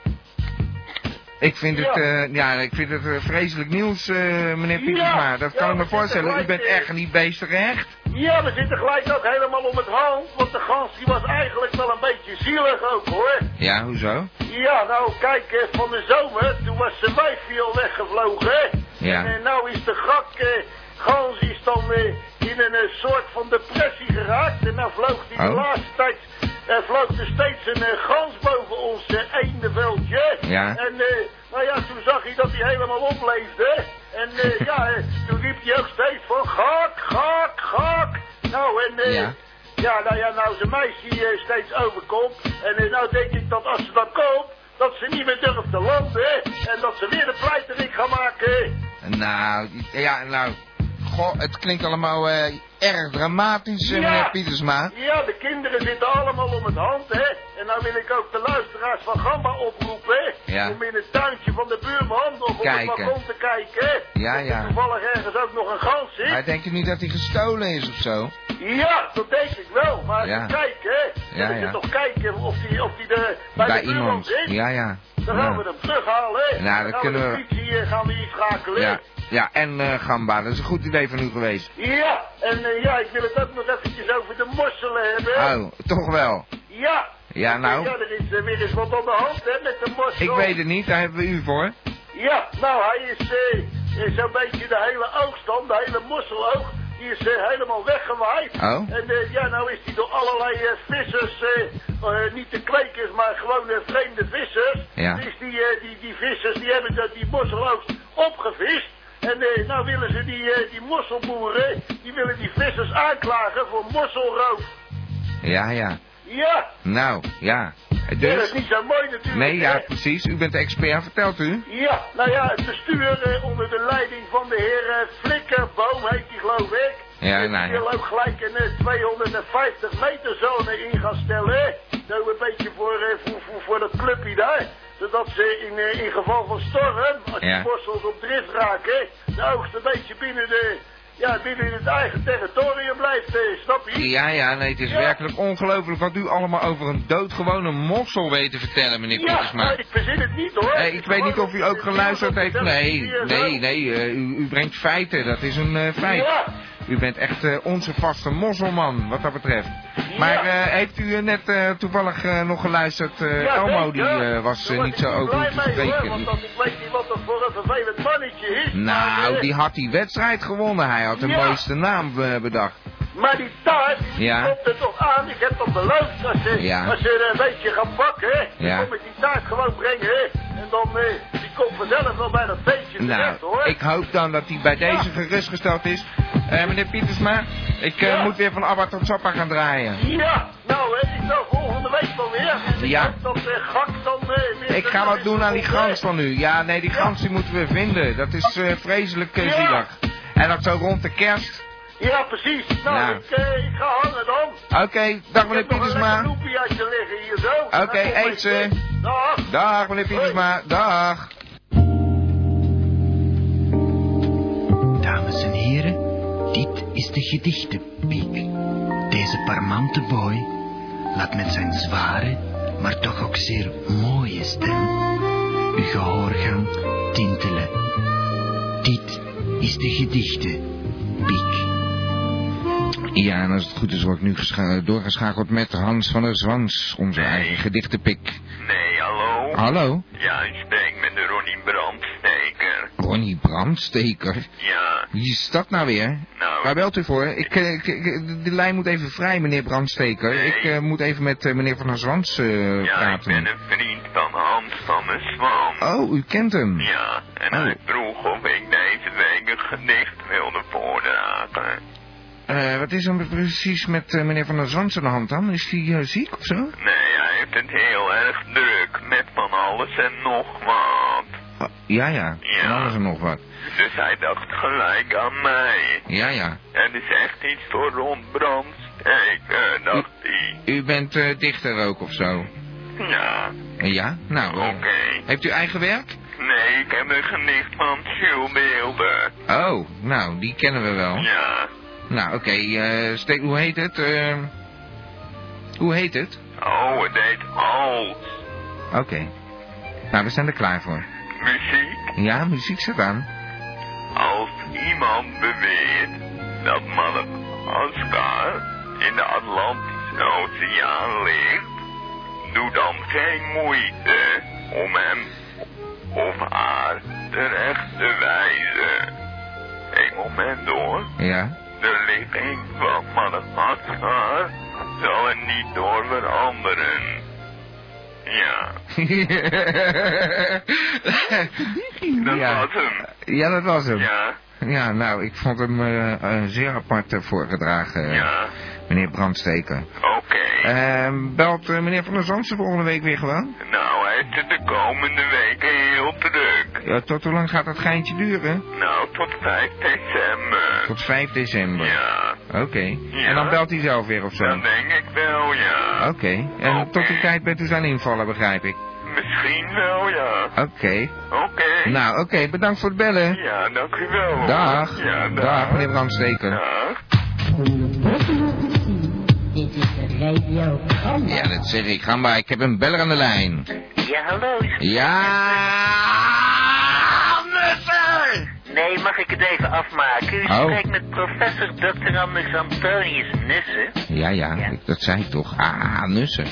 Speaker 2: ik vind het,
Speaker 5: Ja.
Speaker 2: eh, ja, ik vind het eh, vreselijk nieuws, eh, meneer
Speaker 5: Ja.
Speaker 2: Pietersma. Dat
Speaker 5: Ja,
Speaker 2: kan ik
Speaker 5: we
Speaker 2: me
Speaker 5: zitten
Speaker 2: voorstellen. U
Speaker 5: gelijk,
Speaker 2: bent
Speaker 5: eh,
Speaker 2: echt niet beesten gehecht.
Speaker 5: Ja, we zitten gelijk ook helemaal om het hoofd. Want de gans die was eigenlijk wel een beetje zielig ook hoor.
Speaker 2: Ja, hoezo?
Speaker 5: Ja, nou kijk, eh, van de zomer, toen was de wijfje al weggevlogen. hè.
Speaker 2: Ja.
Speaker 5: En eh, nou is de gak, eh, gans is dan eh, in een eh, soort van depressie geraakt. En nou vloog die de
Speaker 2: Oh.
Speaker 5: laatste tijd, eh, vloog er steeds een eh, gans boven ons eh, eendenveldje. hè.
Speaker 6: Ja.
Speaker 5: En eh, nou ja, toen zag hij dat hij helemaal opleefde. hè. En
Speaker 10: <laughs>
Speaker 5: eh, ja, eh, toen riep hij ook steeds van gak, gak, gak. Nou, en eh,
Speaker 2: Ja.
Speaker 5: Ja, nou ja, nou ze meisje eh, steeds overkomt. En eh, nou denk ik dat als ze dat koopt, dat ze niet meer durft te landen. hè. En dat ze weer een pleiterik gaan maken. hè.
Speaker 10: Nou, ja, nou. Goh, het klinkt allemaal eh, erg dramatisch, eh, meneer Pietersma.
Speaker 5: Ja, de kinderen zitten allemaal om het hand, hè. En nou wil ik ook de luisteraars van Gamba oproepen, hè.
Speaker 10: Ja.
Speaker 5: Om in het tuintje van de buurman of op het
Speaker 10: Kijken.
Speaker 5: balkon te kijken, hè.
Speaker 10: Ja,
Speaker 5: Of er
Speaker 10: ja.
Speaker 5: toevallig ergens ook nog een gans zit.
Speaker 10: Maar denk je niet dat hij gestolen is of zo?
Speaker 5: Ja, dat denk ik wel. Maar
Speaker 10: Ja.
Speaker 5: even kijken, hè.
Speaker 10: Ja,
Speaker 5: Dan moet je
Speaker 10: ja.
Speaker 5: toch kijken of die, of die de, bij, de buurman
Speaker 2: iemand.
Speaker 5: zit.
Speaker 2: Ja, ja.
Speaker 5: Dan gaan
Speaker 2: Ja.
Speaker 5: we hem terughalen, hè.
Speaker 2: Nou,
Speaker 5: dan
Speaker 2: dat
Speaker 5: gaan
Speaker 2: kunnen
Speaker 5: we
Speaker 2: we-
Speaker 5: de politie eh, gaan we hier schakelen. hè.
Speaker 2: Ja, ja en eh, Gamba, dat is een goed idee van u geweest.
Speaker 5: Ja, en eh, ja, ik wil het ook nog eventjes over de mosselen hebben. hè.
Speaker 2: Oh, toch wel.
Speaker 5: Ja.
Speaker 2: Ja, nou.
Speaker 5: Ja, er is eh, weer eens wat aan de hand, hè, met de mossel.
Speaker 2: Ik weet het niet, daar hebben we u voor.
Speaker 5: Ja, nou, hij is eh, eh, zo'n beetje de hele oogstand, de hele mosseloog, die is eh, helemaal weggewaaid.
Speaker 2: Oh.
Speaker 5: En eh, ja, nou is hij door allerlei eh, vissers, eh, eh, niet de kwekers, maar gewoon eh, vreemde vissers.
Speaker 2: Ja.
Speaker 5: Dus die, eh, die, die vissers, die hebben dat die mosseloogst opgevist. En eh, nou willen ze die, eh, die mosselboeren, die willen die vissers aanklagen voor mosselroof.
Speaker 2: Ja, ja.
Speaker 5: Ja,
Speaker 2: Nou, ja.
Speaker 5: Ja, dat is
Speaker 2: Dus?
Speaker 5: niet zo mooi natuurlijk.
Speaker 2: Nee,
Speaker 5: hè.
Speaker 2: ja, precies. U bent de expert, vertelt u?
Speaker 5: Ja, nou ja, het bestuur eh, onder de leiding van de heer eh, Flikkerboom heet die geloof ik.
Speaker 2: Ja, nou
Speaker 5: Die wil
Speaker 2: ja.
Speaker 5: ook gelijk een eh, 250 meter zone in gaan stellen. hè. Zo een beetje voor, eh, voor, voor, voor dat clubje daar. Zodat ze in, eh, in geval van storm, als
Speaker 2: Ja.
Speaker 5: die borstels op drift raken, de oogst een beetje binnen, de, ja, binnen het eigen territorium blijft, eh, snap je?
Speaker 2: Ja, ja, nee, het is werkelijk ongelooflijk wat u allemaal over een doodgewone mossel weet te vertellen, meneer
Speaker 5: Ja,
Speaker 2: Pietersma.
Speaker 5: maar ik verzin het niet hoor.
Speaker 2: Eh, ik weet niet of u ook geluisterd heeft. Nee, nee, nee. eh, u, u brengt feiten. Dat is een eh, feit.
Speaker 5: Ja.
Speaker 2: U bent echt eh, onze vaste mosselman, wat dat betreft. Maar eh, heeft u eh, net eh, toevallig eh, nog geluisterd? eh,
Speaker 5: Ja,
Speaker 2: Elmo
Speaker 5: zeker.
Speaker 2: die eh, was eh,
Speaker 5: Daar
Speaker 2: niet zo
Speaker 5: ik
Speaker 2: over u
Speaker 5: blij
Speaker 2: te
Speaker 5: mee, hoor, want
Speaker 2: spreken.
Speaker 5: dat, ik weet niet wat dat voor een vervelend mannetje is. maar,
Speaker 2: Nou,
Speaker 5: eh,
Speaker 2: die had die wedstrijd gewonnen. Hij had de
Speaker 5: Ja.
Speaker 2: mooiste naam eh, bedacht.
Speaker 5: Maar die taart, die
Speaker 2: Ja.
Speaker 5: komt er toch aan. Ik heb dat beloofd. Als ze,
Speaker 2: Ja.
Speaker 5: als ze een beetje gaan bakken, hè,
Speaker 2: Ja.
Speaker 5: dan kom ik die taart gewoon brengen. Hè. En dan, eh, die komt vanzelf wel bij dat feestje
Speaker 2: Nou,
Speaker 5: terecht, hoor.
Speaker 2: ik hoop dan dat hij bij deze gerustgesteld is. Eh, meneer Pietersma, ik eh, moet weer van Abba tot Sappa gaan draaien.
Speaker 5: Ja, nou, hè, ik zal volgende week wel weer. En
Speaker 2: Ja.
Speaker 5: ik hoop dat eh, gak dan eh, weer...
Speaker 2: Ik ga wat doen aan die gans van u. Ja, nee, die gans die moeten we vinden. Dat is eh, vreselijk eh, zielig. En dat zo rond de kerst.
Speaker 5: Ja, precies. Nou,
Speaker 2: Nou.
Speaker 5: Ik, eh, ik ga hangen dan.
Speaker 2: Oké, dag meneer
Speaker 5: Ik heb nog een lekker
Speaker 2: Pietersma.
Speaker 5: loepie uit te liggen hier zo.
Speaker 2: Oké, eet ze.
Speaker 5: Dag.
Speaker 2: Dag meneer Pietersma, dag.
Speaker 18: Dames en heren, dit is de gedichtenpiek. Deze parmante boy laat met zijn zware, maar toch ook zeer mooie stem uw gehoor gaan tintelen. Dit is de gedichtenpiek.
Speaker 2: Ja, en als het goed is word ik nu gescha- doorgeschakeld met Hans van der Zwans, onze eigen gedichtenpik.
Speaker 14: Nee, hallo?
Speaker 2: Hallo,
Speaker 14: Ja, ik spreek met de Ronnie Brandsteker.
Speaker 2: Ronnie Brandsteker.
Speaker 14: Ja,
Speaker 2: Wie is dat nou weer?
Speaker 14: Nou.
Speaker 2: Waar belt u voor? Ik, eh, ik- ik- de lijn moet even vrij, meneer Brandsteker. Ik eh, moet even met eh, meneer van der Zwans eh,
Speaker 14: ja ik
Speaker 2: praten.
Speaker 14: ben een vriend van Hans van de Zwam.
Speaker 2: Oh, u Oh. kent hem.
Speaker 14: Ja, en hij vroeg of ik deze week een gedicht wilde voordragen.
Speaker 2: Eh, wat is er precies met eh, meneer Van der Zwans aan de hand dan? Is hij eh, ziek of zo?
Speaker 14: Nee, hij heeft het heel erg druk met van alles en nog wat.
Speaker 2: Ja, ja.
Speaker 14: Ja.
Speaker 2: Van alles en nog wat.
Speaker 14: Dus hij dacht gelijk aan mij.
Speaker 2: Ja, ja.
Speaker 14: Het is echt iets voor rond Brandsteker, eh, dacht hij.
Speaker 2: U bent eh, dichter ook of zo?
Speaker 14: Ja,
Speaker 2: Eh, ja? Nou, eh,
Speaker 14: oké.
Speaker 2: heeft u eigen werk?
Speaker 14: Nee, ik heb een gedicht van Jules Beelden.
Speaker 2: Oh, nou, die kennen we wel.
Speaker 14: Ja,
Speaker 2: Nou, oké. eh, steek- hoe heet het? Eh, hoe heet het?
Speaker 14: oh, het heet Alt.
Speaker 2: Oké. Nou, we zijn er klaar voor.
Speaker 14: Muziek.
Speaker 2: Ja, muziek zit aan.
Speaker 14: Als iemand beweert dat Madagaskar in de Atlantische Oceaan ligt, doe dan geen moeite om hem of haar terecht te wijzen. Een moment hoor.
Speaker 2: Ja. <laughs>
Speaker 14: De ligging van Madagaskar zal er niet door veranderen. Ja, dat
Speaker 2: ja.
Speaker 14: was hem.
Speaker 2: ja, dat was hem.
Speaker 14: Ja,
Speaker 2: Ja, nou, ik vond hem eh, eh, zeer apart eh, voorgedragen, eh, meneer Brandsteker.
Speaker 14: Oké.
Speaker 2: Eh, belt eh, meneer Van der Zandse volgende week weer gewoon?
Speaker 14: Nou, hij is er de komende weken heel druk.
Speaker 2: Ja, tot hoe lang gaat dat geintje duren?
Speaker 14: Nou, tot 5 december.
Speaker 2: Tot 5 december.
Speaker 14: Ja.
Speaker 2: Oké. En dan belt hij zelf weer of zo?
Speaker 14: Dan denk ik wel, ja.
Speaker 2: Oké. En tot die tijd bent u aan invallen, begrijp ik.
Speaker 14: Misschien wel, ja.
Speaker 2: Oké.
Speaker 14: Oké.
Speaker 2: Nou, oké. Bedankt voor het bellen.
Speaker 14: Ja, dank u wel. hoor.
Speaker 2: Dag.
Speaker 14: Ja,
Speaker 2: dag. meneer Brandsteker.
Speaker 16: Dit is de radio Gamba.
Speaker 2: Ja, dat zeg ik. Gamba, ik heb een beller aan de lijn.
Speaker 16: Ja, hallo.
Speaker 2: Ja!
Speaker 16: Amnesser! Nee, mag ik het even afmaken? U
Speaker 2: Oh.
Speaker 16: spreekt met professor Dr. Anders Antonius Nussen.
Speaker 2: Ja, ja, ik- dat zei ik toch. Ah, nussen.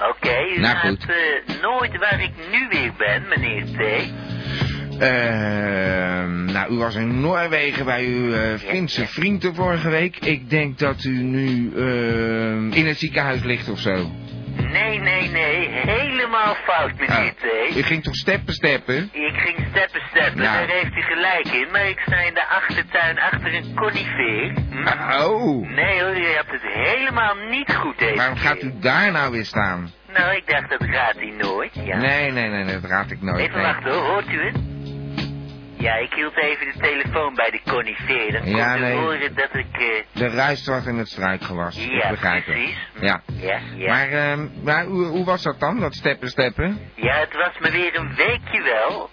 Speaker 16: Oké, u
Speaker 2: Nou,
Speaker 16: gaat
Speaker 2: goed.
Speaker 16: eh, nooit waar ik nu weer ben, meneer T.
Speaker 2: Ehm, nou, u was in Noorwegen bij uw eh, Finse vrienden vorige week. Ik denk dat u nu ehm, in het ziekenhuis ligt of zo.
Speaker 16: Nee, nee, nee, helemaal fout, meneer T.
Speaker 2: U ging toch steppen steppen?
Speaker 16: Ik ging steppen steppen,
Speaker 2: Nou.
Speaker 16: daar heeft u gelijk in, maar ik sta in de achtertuin achter een conifeer.
Speaker 2: Oh,
Speaker 16: Nee hoor, u hebt het helemaal niet goed deze
Speaker 2: waarom gaat
Speaker 16: keer.
Speaker 2: u daar nou weer staan?
Speaker 16: Nou, ik dacht dat raadt hij nooit, ja.
Speaker 2: Nee, nee, nee, dat raad ik nooit.
Speaker 16: Even
Speaker 2: nee.
Speaker 16: wachten hoor, hoort u het? Ja, ik hield even de telefoon bij de conifeer. Dan kon
Speaker 2: Ja,
Speaker 16: u
Speaker 2: nee.
Speaker 16: horen dat ik... eh,
Speaker 2: De ruist was in het struikgewas.
Speaker 16: Ja,
Speaker 2: ik begrijp het.
Speaker 16: precies.
Speaker 2: Ja.
Speaker 16: ja, ja.
Speaker 2: Maar, ehm, maar hoe, hoe was dat dan, dat steppen steppen?
Speaker 16: ja, het was me weer een weekje wel.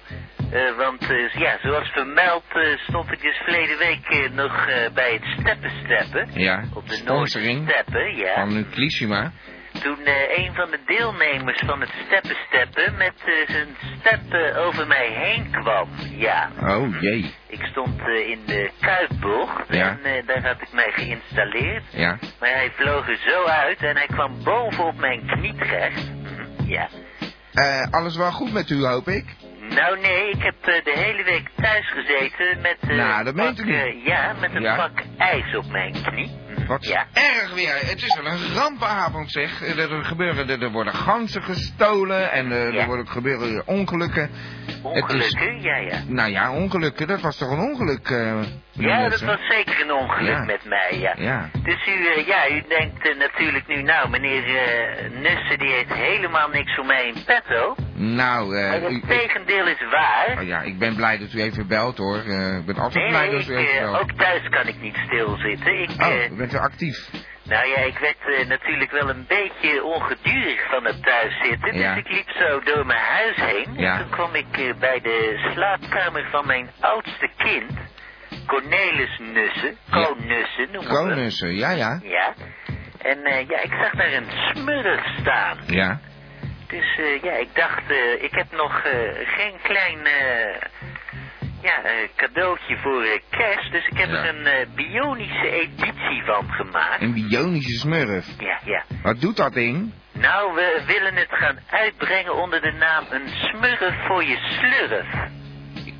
Speaker 16: Eh, want eh, ja, zoals vermeld eh, stond ik dus verleden week eh, nog eh, bij het steppen steppen.
Speaker 2: Ja,
Speaker 16: Op de
Speaker 2: sponsoring
Speaker 16: Noordsteppen, ja.
Speaker 2: van Nuclissima.
Speaker 16: Toen eh, een van de deelnemers van het steppen steppen met eh, zijn steppen over mij heen kwam. Ja.
Speaker 2: Oh, jee.
Speaker 16: Ik stond eh, in de Kuipbocht
Speaker 2: Ja.
Speaker 16: en eh, daar had ik mij geïnstalleerd.
Speaker 2: Ja.
Speaker 16: Maar hij vloog er zo uit en hij kwam boven op mijn knie terecht. Hm, Ja.
Speaker 2: Eh, alles wel goed met u, hoop ik?
Speaker 16: Nou nee, ik heb eh, de hele week thuis gezeten met eh,
Speaker 2: Nou, dat meent u
Speaker 16: pak, eh,
Speaker 2: niet.
Speaker 16: ja, met een
Speaker 2: Ja.
Speaker 16: pak ijs op mijn knie.
Speaker 2: Wat erg weer. Het is wel een rampenavond, zeg. Er, er gebeuren, er, er worden ganzen gestolen en eh, er, er worden, gebeuren hier ongelukken.
Speaker 16: Ongelukken, ja, ja.
Speaker 2: Het is, nou ja, ongelukken. Dat was toch een ongeluk, eh, meneer
Speaker 16: Ja, dat
Speaker 2: Messen?
Speaker 16: was zeker een ongeluk
Speaker 2: Ja.
Speaker 16: met mij, ja.
Speaker 2: Ja.
Speaker 16: Dus u, eh, ja, u denkt eh, natuurlijk nu, nou, meneer eh, Nussen die heeft helemaal niks voor mij in petto.
Speaker 2: Nou, eh,
Speaker 16: maar het
Speaker 2: u- ik-
Speaker 16: tegendeel is waar.
Speaker 2: oh ja, ik ben blij dat u even belt, hoor. Eh, ik ben altijd
Speaker 16: Nee,
Speaker 2: blij
Speaker 16: nee,
Speaker 2: dat u
Speaker 16: ik,
Speaker 2: even
Speaker 16: eh,
Speaker 2: belt.
Speaker 16: ook thuis kan ik niet stilzitten. Ik, eh,
Speaker 2: Oh, u bent weer actief.
Speaker 16: nou ja, ik werd eh, natuurlijk wel een beetje ongedurig van het thuiszitten.
Speaker 2: Ja.
Speaker 16: Dus ik liep zo door mijn huis heen.
Speaker 2: Ja.
Speaker 16: En toen kwam ik eh, bij de slaapkamer van mijn oudste kind, Cornelis Nussen. Ko Nussen noemen we hem.
Speaker 2: Kronussen, ja, ja.
Speaker 16: Ja. En eh, ja, ik zag daar een smurf staan.
Speaker 2: Ja.
Speaker 16: Dus eh, ja, ik dacht, eh, ik heb nog eh, geen klein eh, ja, eh, cadeautje voor eh, kerst. Dus ik heb
Speaker 2: Ja.
Speaker 16: er een eh, bionische editie van gemaakt.
Speaker 2: Een bionische smurf.
Speaker 16: Ja, ja.
Speaker 2: Wat doet dat ding?
Speaker 16: Nou, we willen het gaan uitbrengen onder de naam een smurf voor je slurf.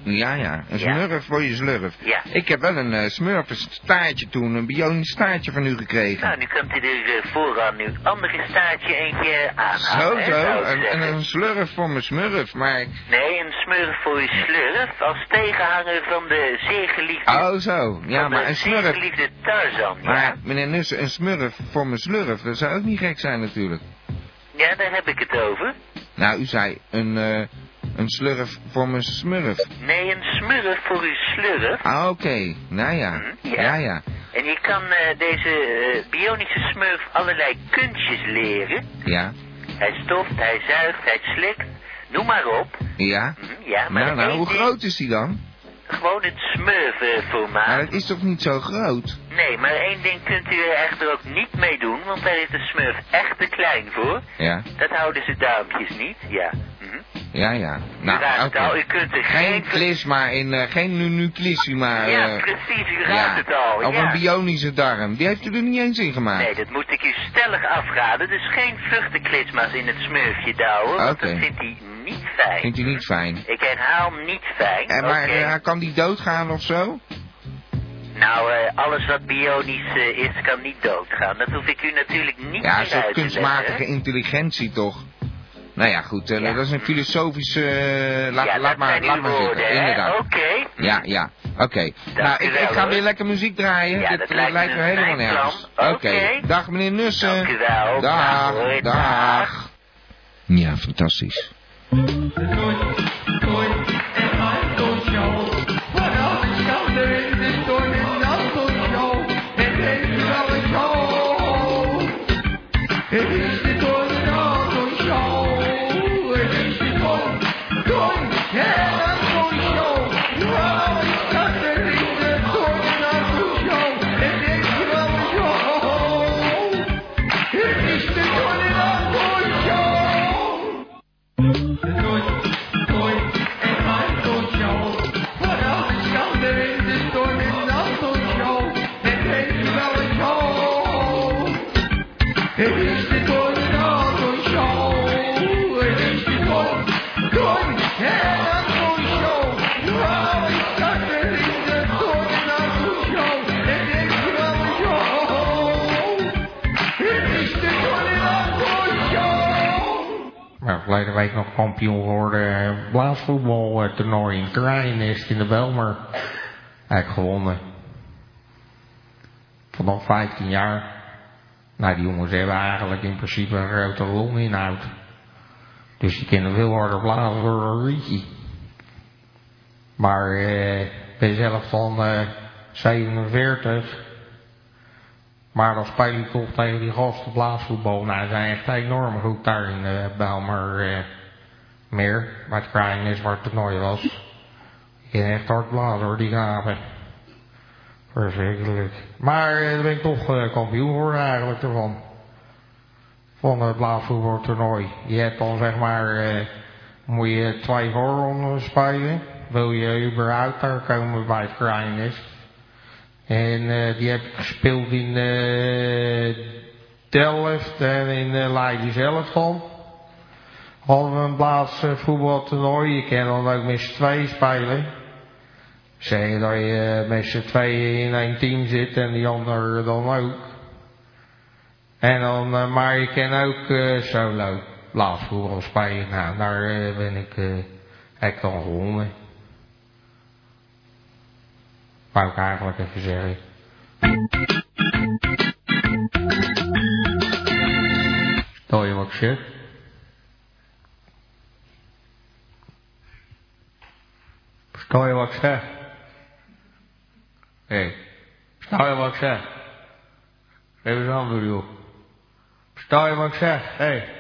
Speaker 2: Ja, ja. Een
Speaker 16: Ja.
Speaker 2: smurf voor je slurf.
Speaker 16: Ja.
Speaker 2: Ik heb wel een eh smurfenstaartje toen, een bionisch staartje van u gekregen.
Speaker 16: Nou, nu komt u er eh, vooraan nu andere staartje eentje aanhalen.
Speaker 2: Zo,
Speaker 16: nou, hè,
Speaker 2: zo.
Speaker 16: zou ik
Speaker 2: En, en
Speaker 16: zeggen.
Speaker 2: een slurf voor mijn smurf, maar...
Speaker 16: Nee, een smurf voor je slurf als tegenhanger van de zeer geliefde...
Speaker 2: Oh, zo. Ja,
Speaker 16: van
Speaker 2: maar
Speaker 16: de
Speaker 2: een
Speaker 16: zeer
Speaker 2: slurf...
Speaker 16: geliefde Tarzan, ja.
Speaker 2: Maar, meneer Nussen, een smurf voor mijn slurf, dat zou ook niet gek zijn natuurlijk.
Speaker 16: Ja, daar heb ik het over.
Speaker 2: Nou, u zei een, eh, een slurf voor mijn smurf.
Speaker 16: Nee, een smurf voor uw slurf.
Speaker 2: Ah, oké. Nou ja. Ja, ja.
Speaker 16: En je kan eh, deze eh, bionische smurf allerlei kunstjes leren.
Speaker 2: Ja.
Speaker 16: Hij stoft, hij zuigt, hij slikt. Noem maar op.
Speaker 2: Ja.
Speaker 16: Hm, Ja, maar
Speaker 2: Nou, nou,
Speaker 16: één
Speaker 2: hoe
Speaker 16: ding,
Speaker 2: groot is die dan?
Speaker 16: gewoon eh, het smurfenformaat.
Speaker 2: Maar dat is toch niet zo groot?
Speaker 16: Nee, maar één ding kunt u er echter ook niet mee doen, want daar is de smurf echt te klein voor.
Speaker 2: Ja.
Speaker 16: Dat houden ze duimpjes niet, ja.
Speaker 2: Ja, ja.
Speaker 16: Nou, u, raakt het
Speaker 2: oké.
Speaker 16: al, u kunt er
Speaker 2: Geen klisma in, eh, geen nu- nuclissima.
Speaker 16: Ja,
Speaker 2: eh,
Speaker 16: precies, u raadt het al.
Speaker 2: Of
Speaker 16: ja.
Speaker 2: een bionische darm. Die heeft u er niet eens in gemaakt.
Speaker 16: Nee, dat moest ik u stellig afraden. Dus geen vruchtenklisma's in het smurfje douwen, want
Speaker 2: Oké.
Speaker 16: dat vindt hij niet fijn.
Speaker 2: Vindt u niet fijn?
Speaker 16: Ik herhaal niet fijn.
Speaker 2: En maar
Speaker 16: oké.
Speaker 2: eh, kan die doodgaan of zo?
Speaker 16: Nou, eh, alles wat bionisch eh, is, kan niet doodgaan. Dat hoef ik u natuurlijk niet
Speaker 2: ja,
Speaker 16: meer
Speaker 2: een soort
Speaker 16: uit te
Speaker 2: kunstmatige
Speaker 16: leggen.
Speaker 2: intelligentie toch? Nou ja, goed. eh, Dat is een filosofische... eh, laat,
Speaker 16: ja,
Speaker 2: laat
Speaker 16: dat
Speaker 2: maar,
Speaker 16: zijn
Speaker 2: laat
Speaker 16: uw
Speaker 2: maar
Speaker 16: woorden,
Speaker 2: zitten.
Speaker 16: hè?
Speaker 2: Inderdaad.
Speaker 16: Oké,
Speaker 2: Ja, ja. Oké. Nou,
Speaker 16: u
Speaker 2: ik,
Speaker 16: wel,
Speaker 2: ik ga
Speaker 16: hoor.
Speaker 2: weer lekker muziek draaien.
Speaker 16: Ja,
Speaker 2: dit,
Speaker 16: dat
Speaker 2: dit
Speaker 16: lijkt me
Speaker 2: lijkt me
Speaker 16: een
Speaker 2: helemaal
Speaker 16: fijn
Speaker 2: nergens.
Speaker 16: plan.
Speaker 2: Oké.
Speaker 16: Oké.
Speaker 2: Dag meneer Nussen.
Speaker 16: Dank u
Speaker 2: Dag.
Speaker 16: wel. Dag, hoor.
Speaker 2: Dag. Ja, fantastisch.
Speaker 12: Maar verleden week nog kampioen geworden. Blaasvoetbal eh, toernooi in Kraaienest in de Belmer. Heb ik gewonnen. Vanaf 15 jaar. Nou, die jongens hebben eigenlijk in principe een grote longinhoud. Dus die kunnen veel harder blazen voor een rietje. Maar eh, ik ben zelf van eh 47. Maar dan speel je toch tegen die gasten blaasvoetbal. Nou, ze zijn echt enorm goed daar in de Belmer eh, meer. Waar het klein is, waar het toernooi was. Die kunnen echt hard blazen hoor, die gaven. Verschrikkelijk. Maar eh, daar ben ik toch eh, kampioen geworden eigenlijk ervan. Van het blaasvoetbaltoernooi. Je hebt dan zeg maar, eh, moet je twee voorrondes spelen. Wil je überhaupt daar komen bij het klein is. En eh, die heb ik gespeeld in eh Delft en in eh, Leiden zelf dan. Hadden we een plaats eh, voetbaltoernooi. Je kan dan ook met z'n tweeën spelen. Zeg je dat je eh, met z'n tweeën in één team zit en die ander dan ook. En dan, eh, maar je kan ook eh, solo blaasvoetbal spelen. Nou, daar eh, ben ik, eh heb ik dan gewonnen. Wou ik eigenlijk even zeggen. Hoor je wat ik zeg? Versta je wat ik zeg? Hé, hey. versta je wat ik zeg? Geef eens aan, bedoel. Versta je wat ik zeg? Hé. Hey.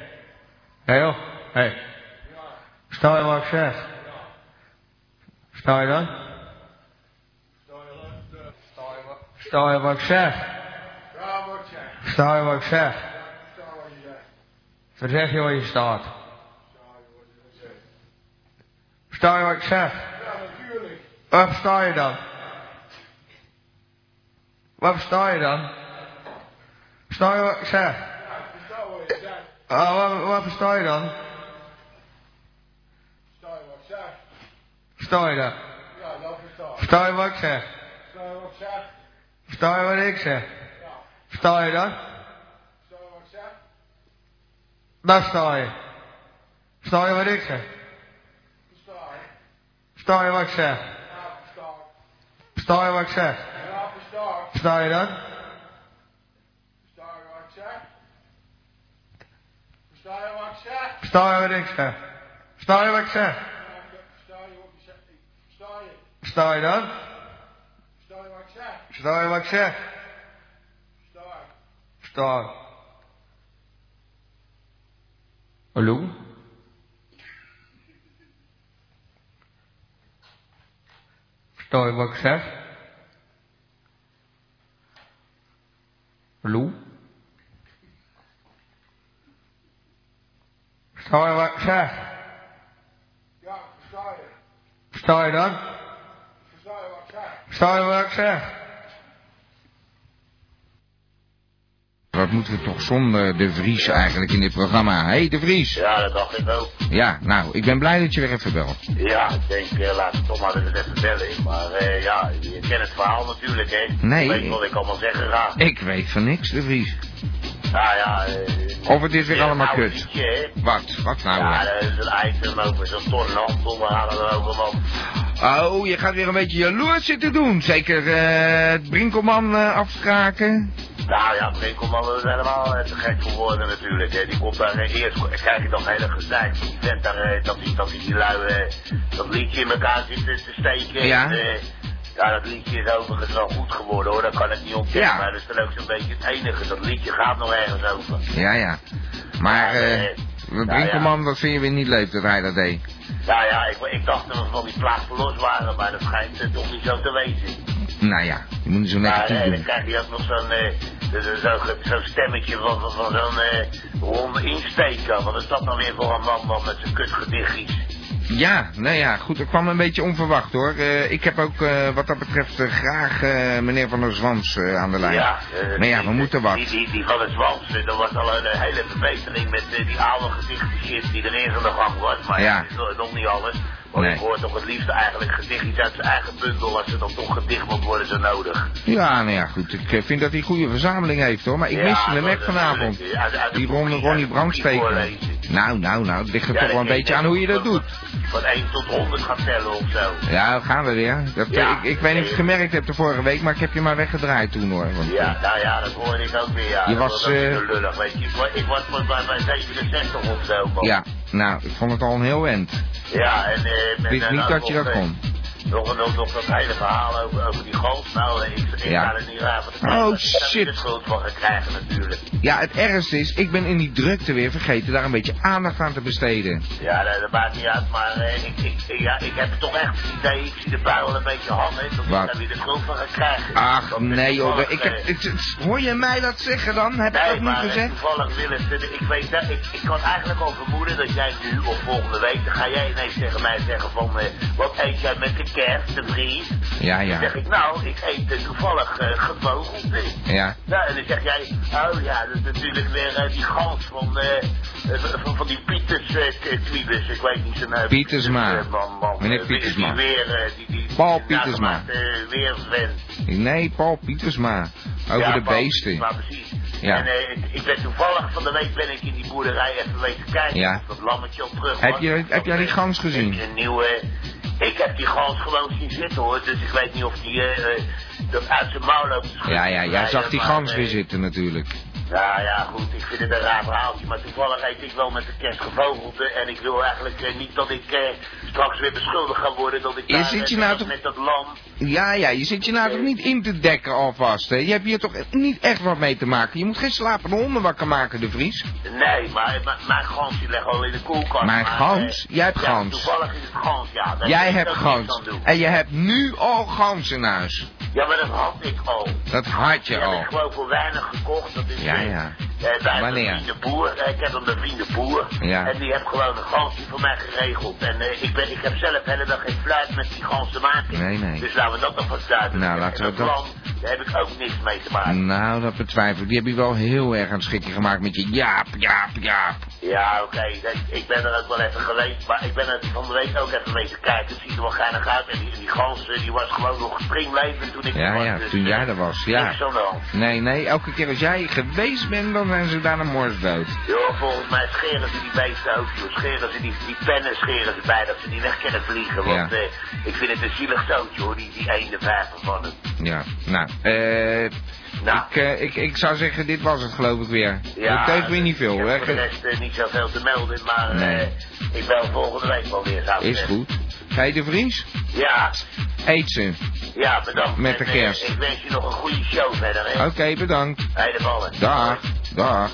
Speaker 12: Hé joh, hé. Hey. Versta je wat ik zeg? Versta je dat? Versta je wat ik zeg? Versta je wat ik zeg? Verzeg je wat je staat. Versta je wat ik zeg? Waar versta je dan? Waar versta je dan? Versta je wat ik zeg? Ah, waar, waar versta je dan? Versta je dat? Versta je wat ik zeg? Versta je wat ik zeg? Versta je dat? Daar sta je. Versta je wat ik zeg? Versta je wat ik zeg? Versta je wat ik zeg? Versta je dat? Versta je wat ik zeg? Versta je wat ik zeg? Versta je dat? Versta je wat ik zeg? Versta je. Hallo? Versta je wat ik zeg? Hallo? Versta je wat ik zeg? Versta je dan? Versta je wat ik zeg?
Speaker 2: Wat moeten we toch zonder De Vries eigenlijk in dit programma. Hé, hey, De Vries.
Speaker 19: Ja, dat dacht ik ook.
Speaker 2: Ja, nou, ik ben blij dat je weer even belt.
Speaker 19: Ja, ik denk, eh, laat ik toch maar eens even bellen. Maar eh, ja, je kent het verhaal natuurlijk, hè?
Speaker 2: Nee.
Speaker 19: Je weet wat ik allemaal zeggen
Speaker 16: Ah.
Speaker 19: ga.
Speaker 2: Ik weet van niks, De Vries.
Speaker 19: Nou ja... eh,
Speaker 2: Of het is weer
Speaker 19: ja,
Speaker 2: allemaal
Speaker 19: nou,
Speaker 2: kut.
Speaker 19: weet je, hè.
Speaker 2: Wat? Wat nou?
Speaker 19: Ja,
Speaker 2: weer?
Speaker 19: dat is een item over zo'n tornhandel. We hadden het over, man.
Speaker 2: Oh, je gaat weer een beetje jaloers zitten doen. Zeker eh, het Brinkelman eh, afschaken.
Speaker 19: Nou ja, Brinkelman is helemaal eh, te gek voor woorden natuurlijk. Hè. Die komt daar eh, eerst, krijg je toch hele gezeik. Die vent daar, eh, dat die, dat die, die lui, eh, dat liedje in elkaar zit te te steken.
Speaker 2: Ja.
Speaker 19: En, eh, ja, dat liedje is overigens wel goed geworden hoor, dat kan ik niet ontkennen.
Speaker 2: Ja.
Speaker 19: Maar dat is dan ook zo'n beetje het enige. Dat liedje gaat nog ergens over.
Speaker 2: Ja, ja. Maar eh,
Speaker 19: nou
Speaker 2: Brinkelman, dat vind je weer niet leuk dat hij dat deed.
Speaker 19: Nou ja, ik, ik dacht dat we van die plaat verlost waren, maar dat schijnt eh, toch niet zo te wezen.
Speaker 2: Nou ja, je moet niet zo
Speaker 19: Maar
Speaker 2: negatief
Speaker 19: eh, dan
Speaker 2: doen.
Speaker 19: krijg je ook nog zo'n eh, zo- zo- zo'n zo'n stemmetje van, van, van zo'n eh, ronde insteker. Wat is dat dan weer voor een man, man met zijn kutgedichtjes?
Speaker 2: Ja, nou ja, goed, dat kwam een beetje onverwacht hoor. Eh, ik heb ook eh, wat dat betreft eh, graag eh, meneer Van der Zwans eh, aan de lijn.
Speaker 19: eh,
Speaker 2: maar ja,
Speaker 19: die-
Speaker 2: we moeten wat.
Speaker 19: Die, die, die van het Zwans, eh, dat was al een eh, hele verbetering met eh, die oude gedichten shit die er eerst aan de gang was. Maar
Speaker 2: Ja.
Speaker 19: dat is nog- nog niet alles. Want
Speaker 2: Nee.
Speaker 19: ik hoor toch het liefst eigenlijk gedichtjes uit zijn eigen bundel als ze dan toch gedicht moet worden zo nodig.
Speaker 2: Ja, nou ja, goed. Ik eh, vind dat hij een goede verzameling heeft hoor. Maar ik
Speaker 19: Ja,
Speaker 2: miste hem
Speaker 19: dat-
Speaker 2: echt
Speaker 19: dat-
Speaker 2: vanavond.
Speaker 19: dat- uit- uit de
Speaker 2: Die ronde
Speaker 19: boekie, uit
Speaker 2: Ronnie
Speaker 19: de
Speaker 2: Brandsteker.
Speaker 19: boekie voorlezen.
Speaker 2: Nou, nou, nou, het ligt er
Speaker 19: Ja,
Speaker 2: toch wel een
Speaker 19: ik denk
Speaker 2: beetje
Speaker 19: dat
Speaker 2: aan hoe je dat doet.
Speaker 19: Van 1 tot 100 gaat tellen of zo.
Speaker 2: Ja, daar gaan we weer. Dat, eh,
Speaker 19: Ja.
Speaker 2: ik, ik weet niet of je het gemerkt hebt de vorige week, maar ik heb je maar weggedraaid toen hoor. Want, eh,
Speaker 19: Ja, nou ja, dat hoorde ik ook weer. Ja.
Speaker 2: Je
Speaker 19: Dat
Speaker 2: was,
Speaker 19: ook
Speaker 2: eh,
Speaker 19: weer lullig, weet je. Ik wa- Ik was pas bij, bij 67 of zo. man.
Speaker 2: ja, nou, ik vond het al een heel end.
Speaker 19: Ja, en... eh,
Speaker 2: Ik
Speaker 19: met-
Speaker 2: wist
Speaker 19: en
Speaker 2: niet
Speaker 19: ook
Speaker 2: dat je
Speaker 19: nog,
Speaker 2: dat
Speaker 19: eh,
Speaker 2: kon.
Speaker 19: Nog, nog, nog dat hele verhaal over, over die golf. Nou, ik, ik
Speaker 2: Ja.
Speaker 19: ga er niet raar van.
Speaker 2: Oh,
Speaker 19: Daar heb je de schuld van gekregen natuurlijk.
Speaker 2: Ja, het ergste is, ik ben in die drukte weer vergeten daar een beetje aandacht aan te besteden.
Speaker 19: Ja, dat, dat maakt niet uit, maar eh, ik, ik, ik- ja, ik heb toch echt het idee, ik zie de bui al een beetje hangen. Ik
Speaker 2: Wat?
Speaker 19: heb je de schuld van gekregen.
Speaker 2: Ach, nee joh,
Speaker 19: toevallig,
Speaker 2: ik heb,
Speaker 19: eh,
Speaker 2: het- het- hoor je mij dat zeggen dan? Heb ik
Speaker 19: Nee,
Speaker 2: dat niet
Speaker 19: maar eh,
Speaker 2: gezegd?
Speaker 19: toevallig Willis, eh, ik weet dat, ik, ik kan eigenlijk al vermoeden dat jij nu of volgende week, dan ga jij ineens tegen mij zeggen van, eh, wat eet jij met de kerst, de vries?
Speaker 2: Ja,
Speaker 19: Dan
Speaker 2: ja,
Speaker 19: zeg ik, nou, ik eet eh, toevallig eh, gevogelde.
Speaker 2: ja.
Speaker 19: Nou, en dan zeg jij, oh ja, dat is natuurlijk weer eh, die gans van, eh, eh, van, van die Pieters eh, k- kwiebes, ik weet niet zijn naam.
Speaker 2: Pietersma.
Speaker 19: Eh, man, man,
Speaker 2: Meneer
Speaker 19: eh, weer-
Speaker 2: Pietersma.
Speaker 19: Die weer, eh, die, die,
Speaker 2: Paul
Speaker 19: die
Speaker 2: Pietersma.
Speaker 19: nagemaakt, eh, weer went.
Speaker 2: Nee, Paul Pietersma. Over
Speaker 19: Ja,
Speaker 2: de
Speaker 19: Paul
Speaker 2: beesten.
Speaker 19: Pietersma, precies.
Speaker 2: Ja.
Speaker 19: En eh, ik- ik ben toevallig van de week ben ik in die boerderij even weten kijken.
Speaker 2: Ja.
Speaker 19: of Dat lammetje op terug.
Speaker 2: Heb
Speaker 19: was.
Speaker 2: je, heb jij die gans gezien?
Speaker 19: Een nieuwe. eh, Ik heb die gans gewoon zien zitten hoor, dus ik weet niet of die eh, eh, dat uit zijn mouw loopt. te
Speaker 2: Ja, ja, jij
Speaker 19: schudden,
Speaker 2: zag die
Speaker 19: maar,
Speaker 2: gans
Speaker 19: eh,
Speaker 2: weer zitten natuurlijk.
Speaker 19: nou ja, goed, ik vind het een raar verhaaltje, maar toevallig eet ik wel met de kerst gevogelde en ik wil eigenlijk eh, niet dat ik eh, straks weer beschuldigd ga worden dat ik
Speaker 2: Is
Speaker 19: daar,
Speaker 2: dit je
Speaker 19: eh,
Speaker 2: nou
Speaker 19: met-
Speaker 2: toch-
Speaker 19: met dat lam...
Speaker 2: Ja, ja, je zit je nou toch niet in te dekken alvast, hè? Je hebt hier toch niet echt wat mee te maken? Je moet geen slapende honden wakker maken, de Vries.
Speaker 19: Nee, maar maar- mijn gans die ligt al in de koelkast.
Speaker 2: Maar
Speaker 19: eh,
Speaker 2: gans? Jij hebt
Speaker 19: ja,
Speaker 2: gans.
Speaker 19: toevallig is het gans, ja. daar kan
Speaker 2: Jij
Speaker 19: ik
Speaker 2: hebt
Speaker 19: ook niks
Speaker 2: gans.
Speaker 19: aan doen.
Speaker 2: En je hebt nu al gans in huis.
Speaker 19: Ja, maar dat had ik al.
Speaker 2: Dat had
Speaker 19: Die
Speaker 2: je
Speaker 19: heb ik
Speaker 2: al.
Speaker 19: gewoon voor weinig gekocht. Dat is
Speaker 2: Ja,
Speaker 19: eh,
Speaker 2: ja.
Speaker 19: eh, bij
Speaker 2: Wanneer?
Speaker 19: een bevriende boer. Eh, ik heb een bevriende boer.
Speaker 2: Ja.
Speaker 19: En die heeft gewoon een gansje voor mij geregeld. En eh, ik, ben, ik heb zelf helemaal geen fluit met die gans te maken.
Speaker 2: Nee, nee.
Speaker 19: Dus laten we dat nog wat duiden.
Speaker 2: Nou, laten we
Speaker 19: En dat
Speaker 2: dat-
Speaker 19: plan, daar heb ik ook niks mee te maken.
Speaker 2: Nou, dat betwijfel ik. Die heb je wel heel erg aan het schikken gemaakt met je jaap, jaap, jaap.
Speaker 19: Ja, oké. Ik- Ik ben er ook wel even geweest. Maar ik ben er van de week ook even mee te kijken. Het ziet er wel geinig uit. En die, die gans eh, die was gewoon nog springlevend toen ik er
Speaker 2: Ja,
Speaker 19: was.
Speaker 2: ja,
Speaker 19: Dus,
Speaker 2: toen
Speaker 19: eh,
Speaker 2: jij er was, ja.
Speaker 19: Niks aan de hand.
Speaker 2: Nee, nee, elke keer als jij geweest bent, dan zijn ze daarna mors dood.
Speaker 19: Joh, volgens mij scheren ze die beesten ook, joh. Scheren ze die, die pennen scheren ze bij dat ze niet weg kunnen vliegen. Want
Speaker 2: Ja.
Speaker 19: eh, ik vind het een zielig zootje hoor, die, die ene vijver van hem.
Speaker 2: Ja, nou, eh...
Speaker 19: Nou.
Speaker 2: Ik, eh, ik, ik zou zeggen, dit was het geloof ik weer. dat teugt weer niet
Speaker 19: ik
Speaker 2: veel,
Speaker 19: heb
Speaker 2: hè?
Speaker 19: Voor de rest eh, niet zoveel te melden, maar
Speaker 2: Nee.
Speaker 19: eh, ik bel volgende week wel weer. zou ik
Speaker 2: Is
Speaker 19: zeggen.
Speaker 2: goed. Ga je de Vries?
Speaker 19: Ja,
Speaker 2: Eet ze.
Speaker 19: ja, bedankt.
Speaker 2: Met de
Speaker 19: En, eh,
Speaker 2: kerst. Ah.
Speaker 19: ik wens je nog een goede show verder, hè.
Speaker 2: Oké, bedankt.
Speaker 19: Hey, de ballen.
Speaker 2: Dag, dag.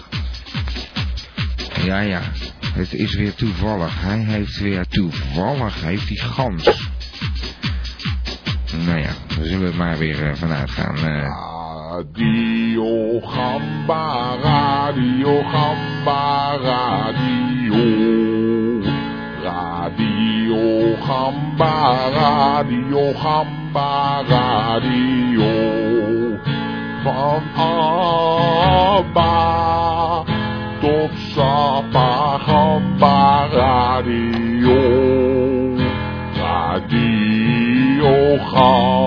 Speaker 2: Ja, ja. Het is weer toevallig. Hij heeft weer toevallig, heeft die gans. Nou ja, daar zullen we maar weer eh, vanuit gaan. eh.
Speaker 20: Radio Gamba, Radio Gamba, Radio. Radio Gamba, Radio Gamba, Radio. Van Abba tot Sapa Gamba, Radio. Radio Gamba.